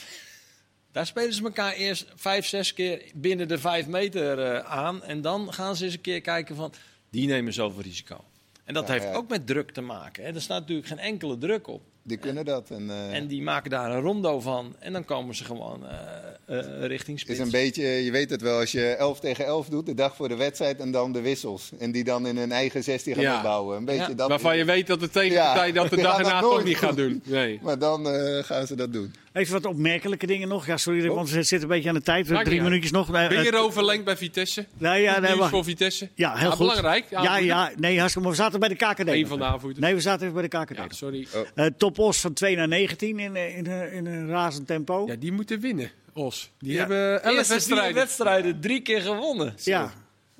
Speaker 4: Daar spelen ze elkaar eerst vijf, zes keer binnen de vijf meter eh, aan. En dan gaan ze eens een keer kijken van, die nemen zoveel risico. En dat
Speaker 3: Ja,
Speaker 4: heeft
Speaker 3: ja.
Speaker 4: ook met druk te maken. Hè. Er staat natuurlijk geen enkele druk op.
Speaker 3: Die kunnen dat. En, eh,
Speaker 4: En die maken daar een rondo van. En dan komen ze gewoon eh, eh, richting
Speaker 3: is
Speaker 4: spits.
Speaker 3: een beetje, je weet het wel, als je 11 tegen 11 doet, de dag voor de wedstrijd en dan de wissels. En die dan in hun eigen 16 gaan
Speaker 2: Ja.
Speaker 3: opbouwen. Een beetje
Speaker 4: Ja,
Speaker 3: dat.
Speaker 2: Waarvan je weet dat de tegenpartij
Speaker 3: Ja.
Speaker 2: dat de
Speaker 3: Ja,
Speaker 2: dag
Speaker 3: dat
Speaker 2: erna toch
Speaker 3: nooit
Speaker 2: niet gaat
Speaker 3: doen.
Speaker 2: doen. Nee.
Speaker 3: Maar dan eh, gaan ze dat doen.
Speaker 1: Even wat opmerkelijke dingen nog. Ja, sorry, want we zitten een beetje aan de tijd. We hebben
Speaker 2: Maakt
Speaker 1: drie
Speaker 2: niet
Speaker 1: minuutjes nog. Nee,
Speaker 2: Ben
Speaker 1: eh,
Speaker 2: Oh. je overlengd bij Vitesse?
Speaker 1: nee, ja,
Speaker 2: Goed
Speaker 1: nee,
Speaker 2: nieuws
Speaker 1: wacht.
Speaker 2: voor Vitesse?
Speaker 1: Ja, heel
Speaker 2: Ah,
Speaker 1: goed.
Speaker 2: belangrijk.
Speaker 1: Ja, ja, nee, hartstikke mooi. We zaten bij de KKD.
Speaker 2: Eén
Speaker 1: nog.
Speaker 2: van de aanvoerders.
Speaker 1: Nee, we zaten even bij de KKD.
Speaker 2: Ja,
Speaker 1: nog.
Speaker 2: sorry.
Speaker 4: Oh.
Speaker 1: Eh top os van 2 naar 19 in, eh, in, eh, in een razend tempo.
Speaker 2: Ja, die moeten winnen, Os. Die
Speaker 4: Ja.
Speaker 2: hebben
Speaker 4: Eerste
Speaker 2: elf
Speaker 4: vier
Speaker 2: wedstrijden.
Speaker 4: wedstrijden drie keer gewonnen.
Speaker 1: Ja.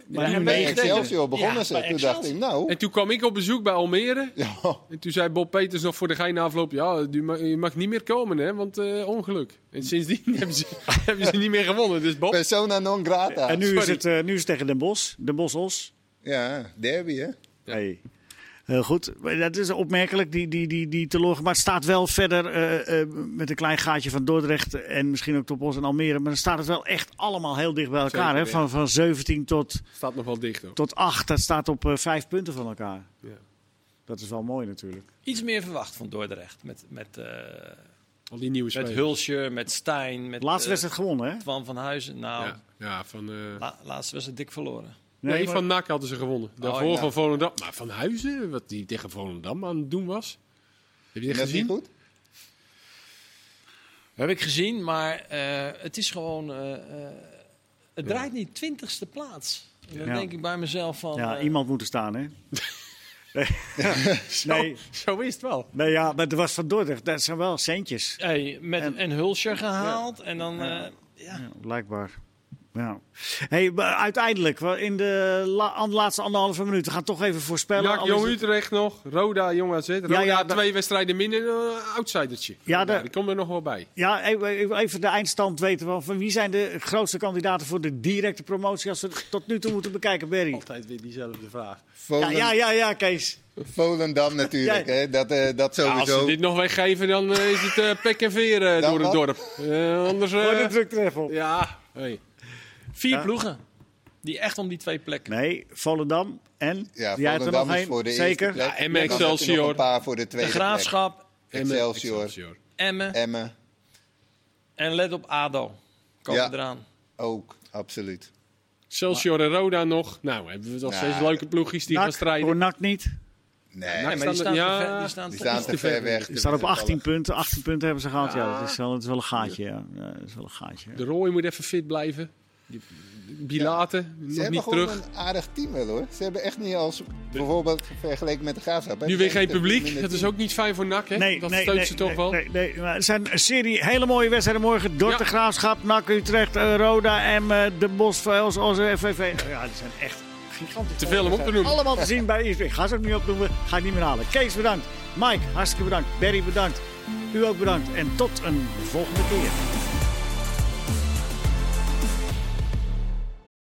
Speaker 1: Maar
Speaker 4: Ja,
Speaker 1: nu
Speaker 4: en
Speaker 3: Bij
Speaker 4: Nee, tegen-
Speaker 3: Excelsior begonnen
Speaker 4: Ja,
Speaker 3: ze.
Speaker 4: bij
Speaker 3: Toen dacht
Speaker 4: Excelsior.
Speaker 3: ik, nou... *laughs*
Speaker 2: En toen kwam ik op bezoek bij Almere.
Speaker 3: Ja,
Speaker 2: En toen zei Bob Peters nog voor de gein na afloop... Ja, die ma- je mag niet meer komen, hè, want eh, ongeluk. En sindsdien *laughs* hebben ze, hebben ze niet meer gewonnen. Dus Bob,
Speaker 3: persona non grata.
Speaker 1: en nu is,
Speaker 2: sorry.
Speaker 1: het, eh, nu is het tegen Den Bos. Den Bos Os.
Speaker 3: Ja, derby hè.
Speaker 2: Ja.
Speaker 1: Hey. Heel goed. Maar Dat is opmerkelijk, die, die, die, die teleurgang. Maar het staat wel verder eh, eh, met een klein gaatje van Dordrecht en misschien ook Top Os en Almere. Maar dan staat het wel echt allemaal heel dicht bij elkaar.
Speaker 2: Zeker,
Speaker 1: hè?
Speaker 2: ja.
Speaker 1: Van, van 17 tot,
Speaker 2: staat nog wel dicht. Hoor.
Speaker 1: tot 8. Dat staat op eh, vijf 5 punten van elkaar.
Speaker 2: Ja.
Speaker 1: Dat is wel mooi natuurlijk.
Speaker 4: Iets meer verwacht van Dordrecht. Met, met, eh,
Speaker 2: Al die nieuwe
Speaker 4: met
Speaker 2: spelers.
Speaker 4: Hulsje, met Stijn, met
Speaker 1: De laatste
Speaker 4: eh,
Speaker 1: wedstrijd gewonnen, hè?
Speaker 4: Twan van Huizen. Nou,
Speaker 2: Ja, ja, van... eh,
Speaker 4: la- laatste wedstrijd dik verloren.
Speaker 2: Nee,
Speaker 1: maar-
Speaker 2: van NAC hadden ze gewonnen. Daarvoor
Speaker 4: ja.
Speaker 2: van Volendam. Maar Van Huizen, wat die tegen Volendam aan het doen was. Heb je
Speaker 3: Dat
Speaker 2: dat
Speaker 3: is
Speaker 2: gezien?
Speaker 3: niet goed.
Speaker 4: Heb ik gezien, maar eh, het is gewoon... eh, eh, het draait niet twintigste plaats. En dan
Speaker 1: Ja.
Speaker 4: denk ik bij mezelf van...
Speaker 1: Ja,
Speaker 4: eh,
Speaker 1: iemand moet er staan,
Speaker 2: *laughs*
Speaker 1: hè? Nee. nee,
Speaker 2: Zo is het wel.
Speaker 1: nee, ja, maar het was van Dordrecht. Dat zijn wel centjes,
Speaker 4: hey, met
Speaker 1: En-
Speaker 4: een, een Hulsje gehaald en dan... eh, ja.
Speaker 1: ja, blijkbaar. Ja. Hey, maar uiteindelijk, we- in de la- an- laatste anderhalve minuut, we gaan toch even voorspellen.
Speaker 2: NAC,
Speaker 1: Al is
Speaker 2: Jong
Speaker 1: het-
Speaker 2: Utrecht nog. Roda, Jong AZ. Roda,
Speaker 1: ja, dat-
Speaker 2: twee wedstrijden minder. Een outsidertje.
Speaker 1: Ja,
Speaker 2: Roda,
Speaker 1: dat-
Speaker 2: die komt er nog wel bij.
Speaker 1: ja, e-, even even de eindstand weten. Van, van wie zijn de grootste kandidaten voor de directe promotie als we het tot nu toe moeten bekijken, Berry?
Speaker 2: Altijd weer diezelfde vraag.
Speaker 1: Ja, ja, ja, ja, Kees.
Speaker 3: Volendam natuurlijk,
Speaker 1: Ja.
Speaker 3: hè. Dat, eh, dat
Speaker 2: als ze
Speaker 3: sowieso.
Speaker 2: dit nog weggeven, dan eh, is het eh, pek en veer eh,
Speaker 3: Dan
Speaker 2: door het
Speaker 3: wat?
Speaker 2: dorp. Eh, anders... eh,
Speaker 1: Voor de druktreffel.
Speaker 2: ja, hey.
Speaker 4: Vier
Speaker 1: Ja.
Speaker 4: ploegen. Die echt om die twee plekken.
Speaker 1: Nee, Volendam en?
Speaker 3: Ja,
Speaker 1: Jij hebt er
Speaker 3: Volendam
Speaker 1: nog
Speaker 3: is
Speaker 1: één?
Speaker 3: voor de
Speaker 1: Zeker.
Speaker 3: eerste plek.
Speaker 2: Ja, en
Speaker 3: Dan heb je nog
Speaker 2: Excelsior.
Speaker 3: Een paar voor de tweede
Speaker 4: de Graafschap,
Speaker 2: eh,
Speaker 3: plek. Excelsior,
Speaker 4: Emmen
Speaker 3: Emmen
Speaker 4: en let op ADO. Komen
Speaker 3: Ja.
Speaker 4: eraan.
Speaker 3: ook, absoluut.
Speaker 2: Excelsior en Roda nog. Nou, hebben we nog
Speaker 3: Nou,
Speaker 2: steeds leuke ploegjes die gaan
Speaker 1: NAC,
Speaker 2: strijden.
Speaker 1: voor NAC niet.
Speaker 3: Nee,
Speaker 4: Nee, maar die
Speaker 2: staan
Speaker 4: staan,
Speaker 2: er-
Speaker 4: te
Speaker 2: ja,
Speaker 4: ver- die staan
Speaker 3: die
Speaker 4: toch
Speaker 3: staan
Speaker 4: iets
Speaker 3: te ver weg.
Speaker 1: Die staat op 18 punten. 18 punten hebben ze gehad. Ja, dat is wel, dat is wel een gaatje. Ja. Ja, dat is wel een gaatje.
Speaker 2: De Roy moet even fit blijven. Die- Bilaten,
Speaker 3: Ze
Speaker 2: nog
Speaker 3: hebben
Speaker 2: niet
Speaker 3: gewoon
Speaker 2: terug.
Speaker 3: een aardig team wel hoor. Ze hebben echt niet als, bijvoorbeeld vergeleken met de Graafschap. hè.
Speaker 2: Nu weer geen
Speaker 3: Minder-
Speaker 2: publiek.
Speaker 3: minder
Speaker 2: Dat is
Speaker 3: team.
Speaker 2: ook niet fijn voor NAC, hè? dat steunt ze toch
Speaker 1: nee,
Speaker 2: wel.
Speaker 1: Nee, nee, maar het zijn een serie hele mooie wedstrijden morgen. Dordt
Speaker 2: Ja.
Speaker 1: de Graafschap, NAC Utrecht, eh, Roda en De Bos, Vels, Osse, FVV. Oh Ja, die zijn echt gigantisch.
Speaker 2: Te veel om op te noemen.
Speaker 1: Allemaal te zien bij ESPN. Ik ga ze ook niet opnoemen. Ga ik niet meer halen. Kees bedankt. Mike, hartstikke bedankt. Berry bedankt. U ook bedankt. En tot een volgende keer.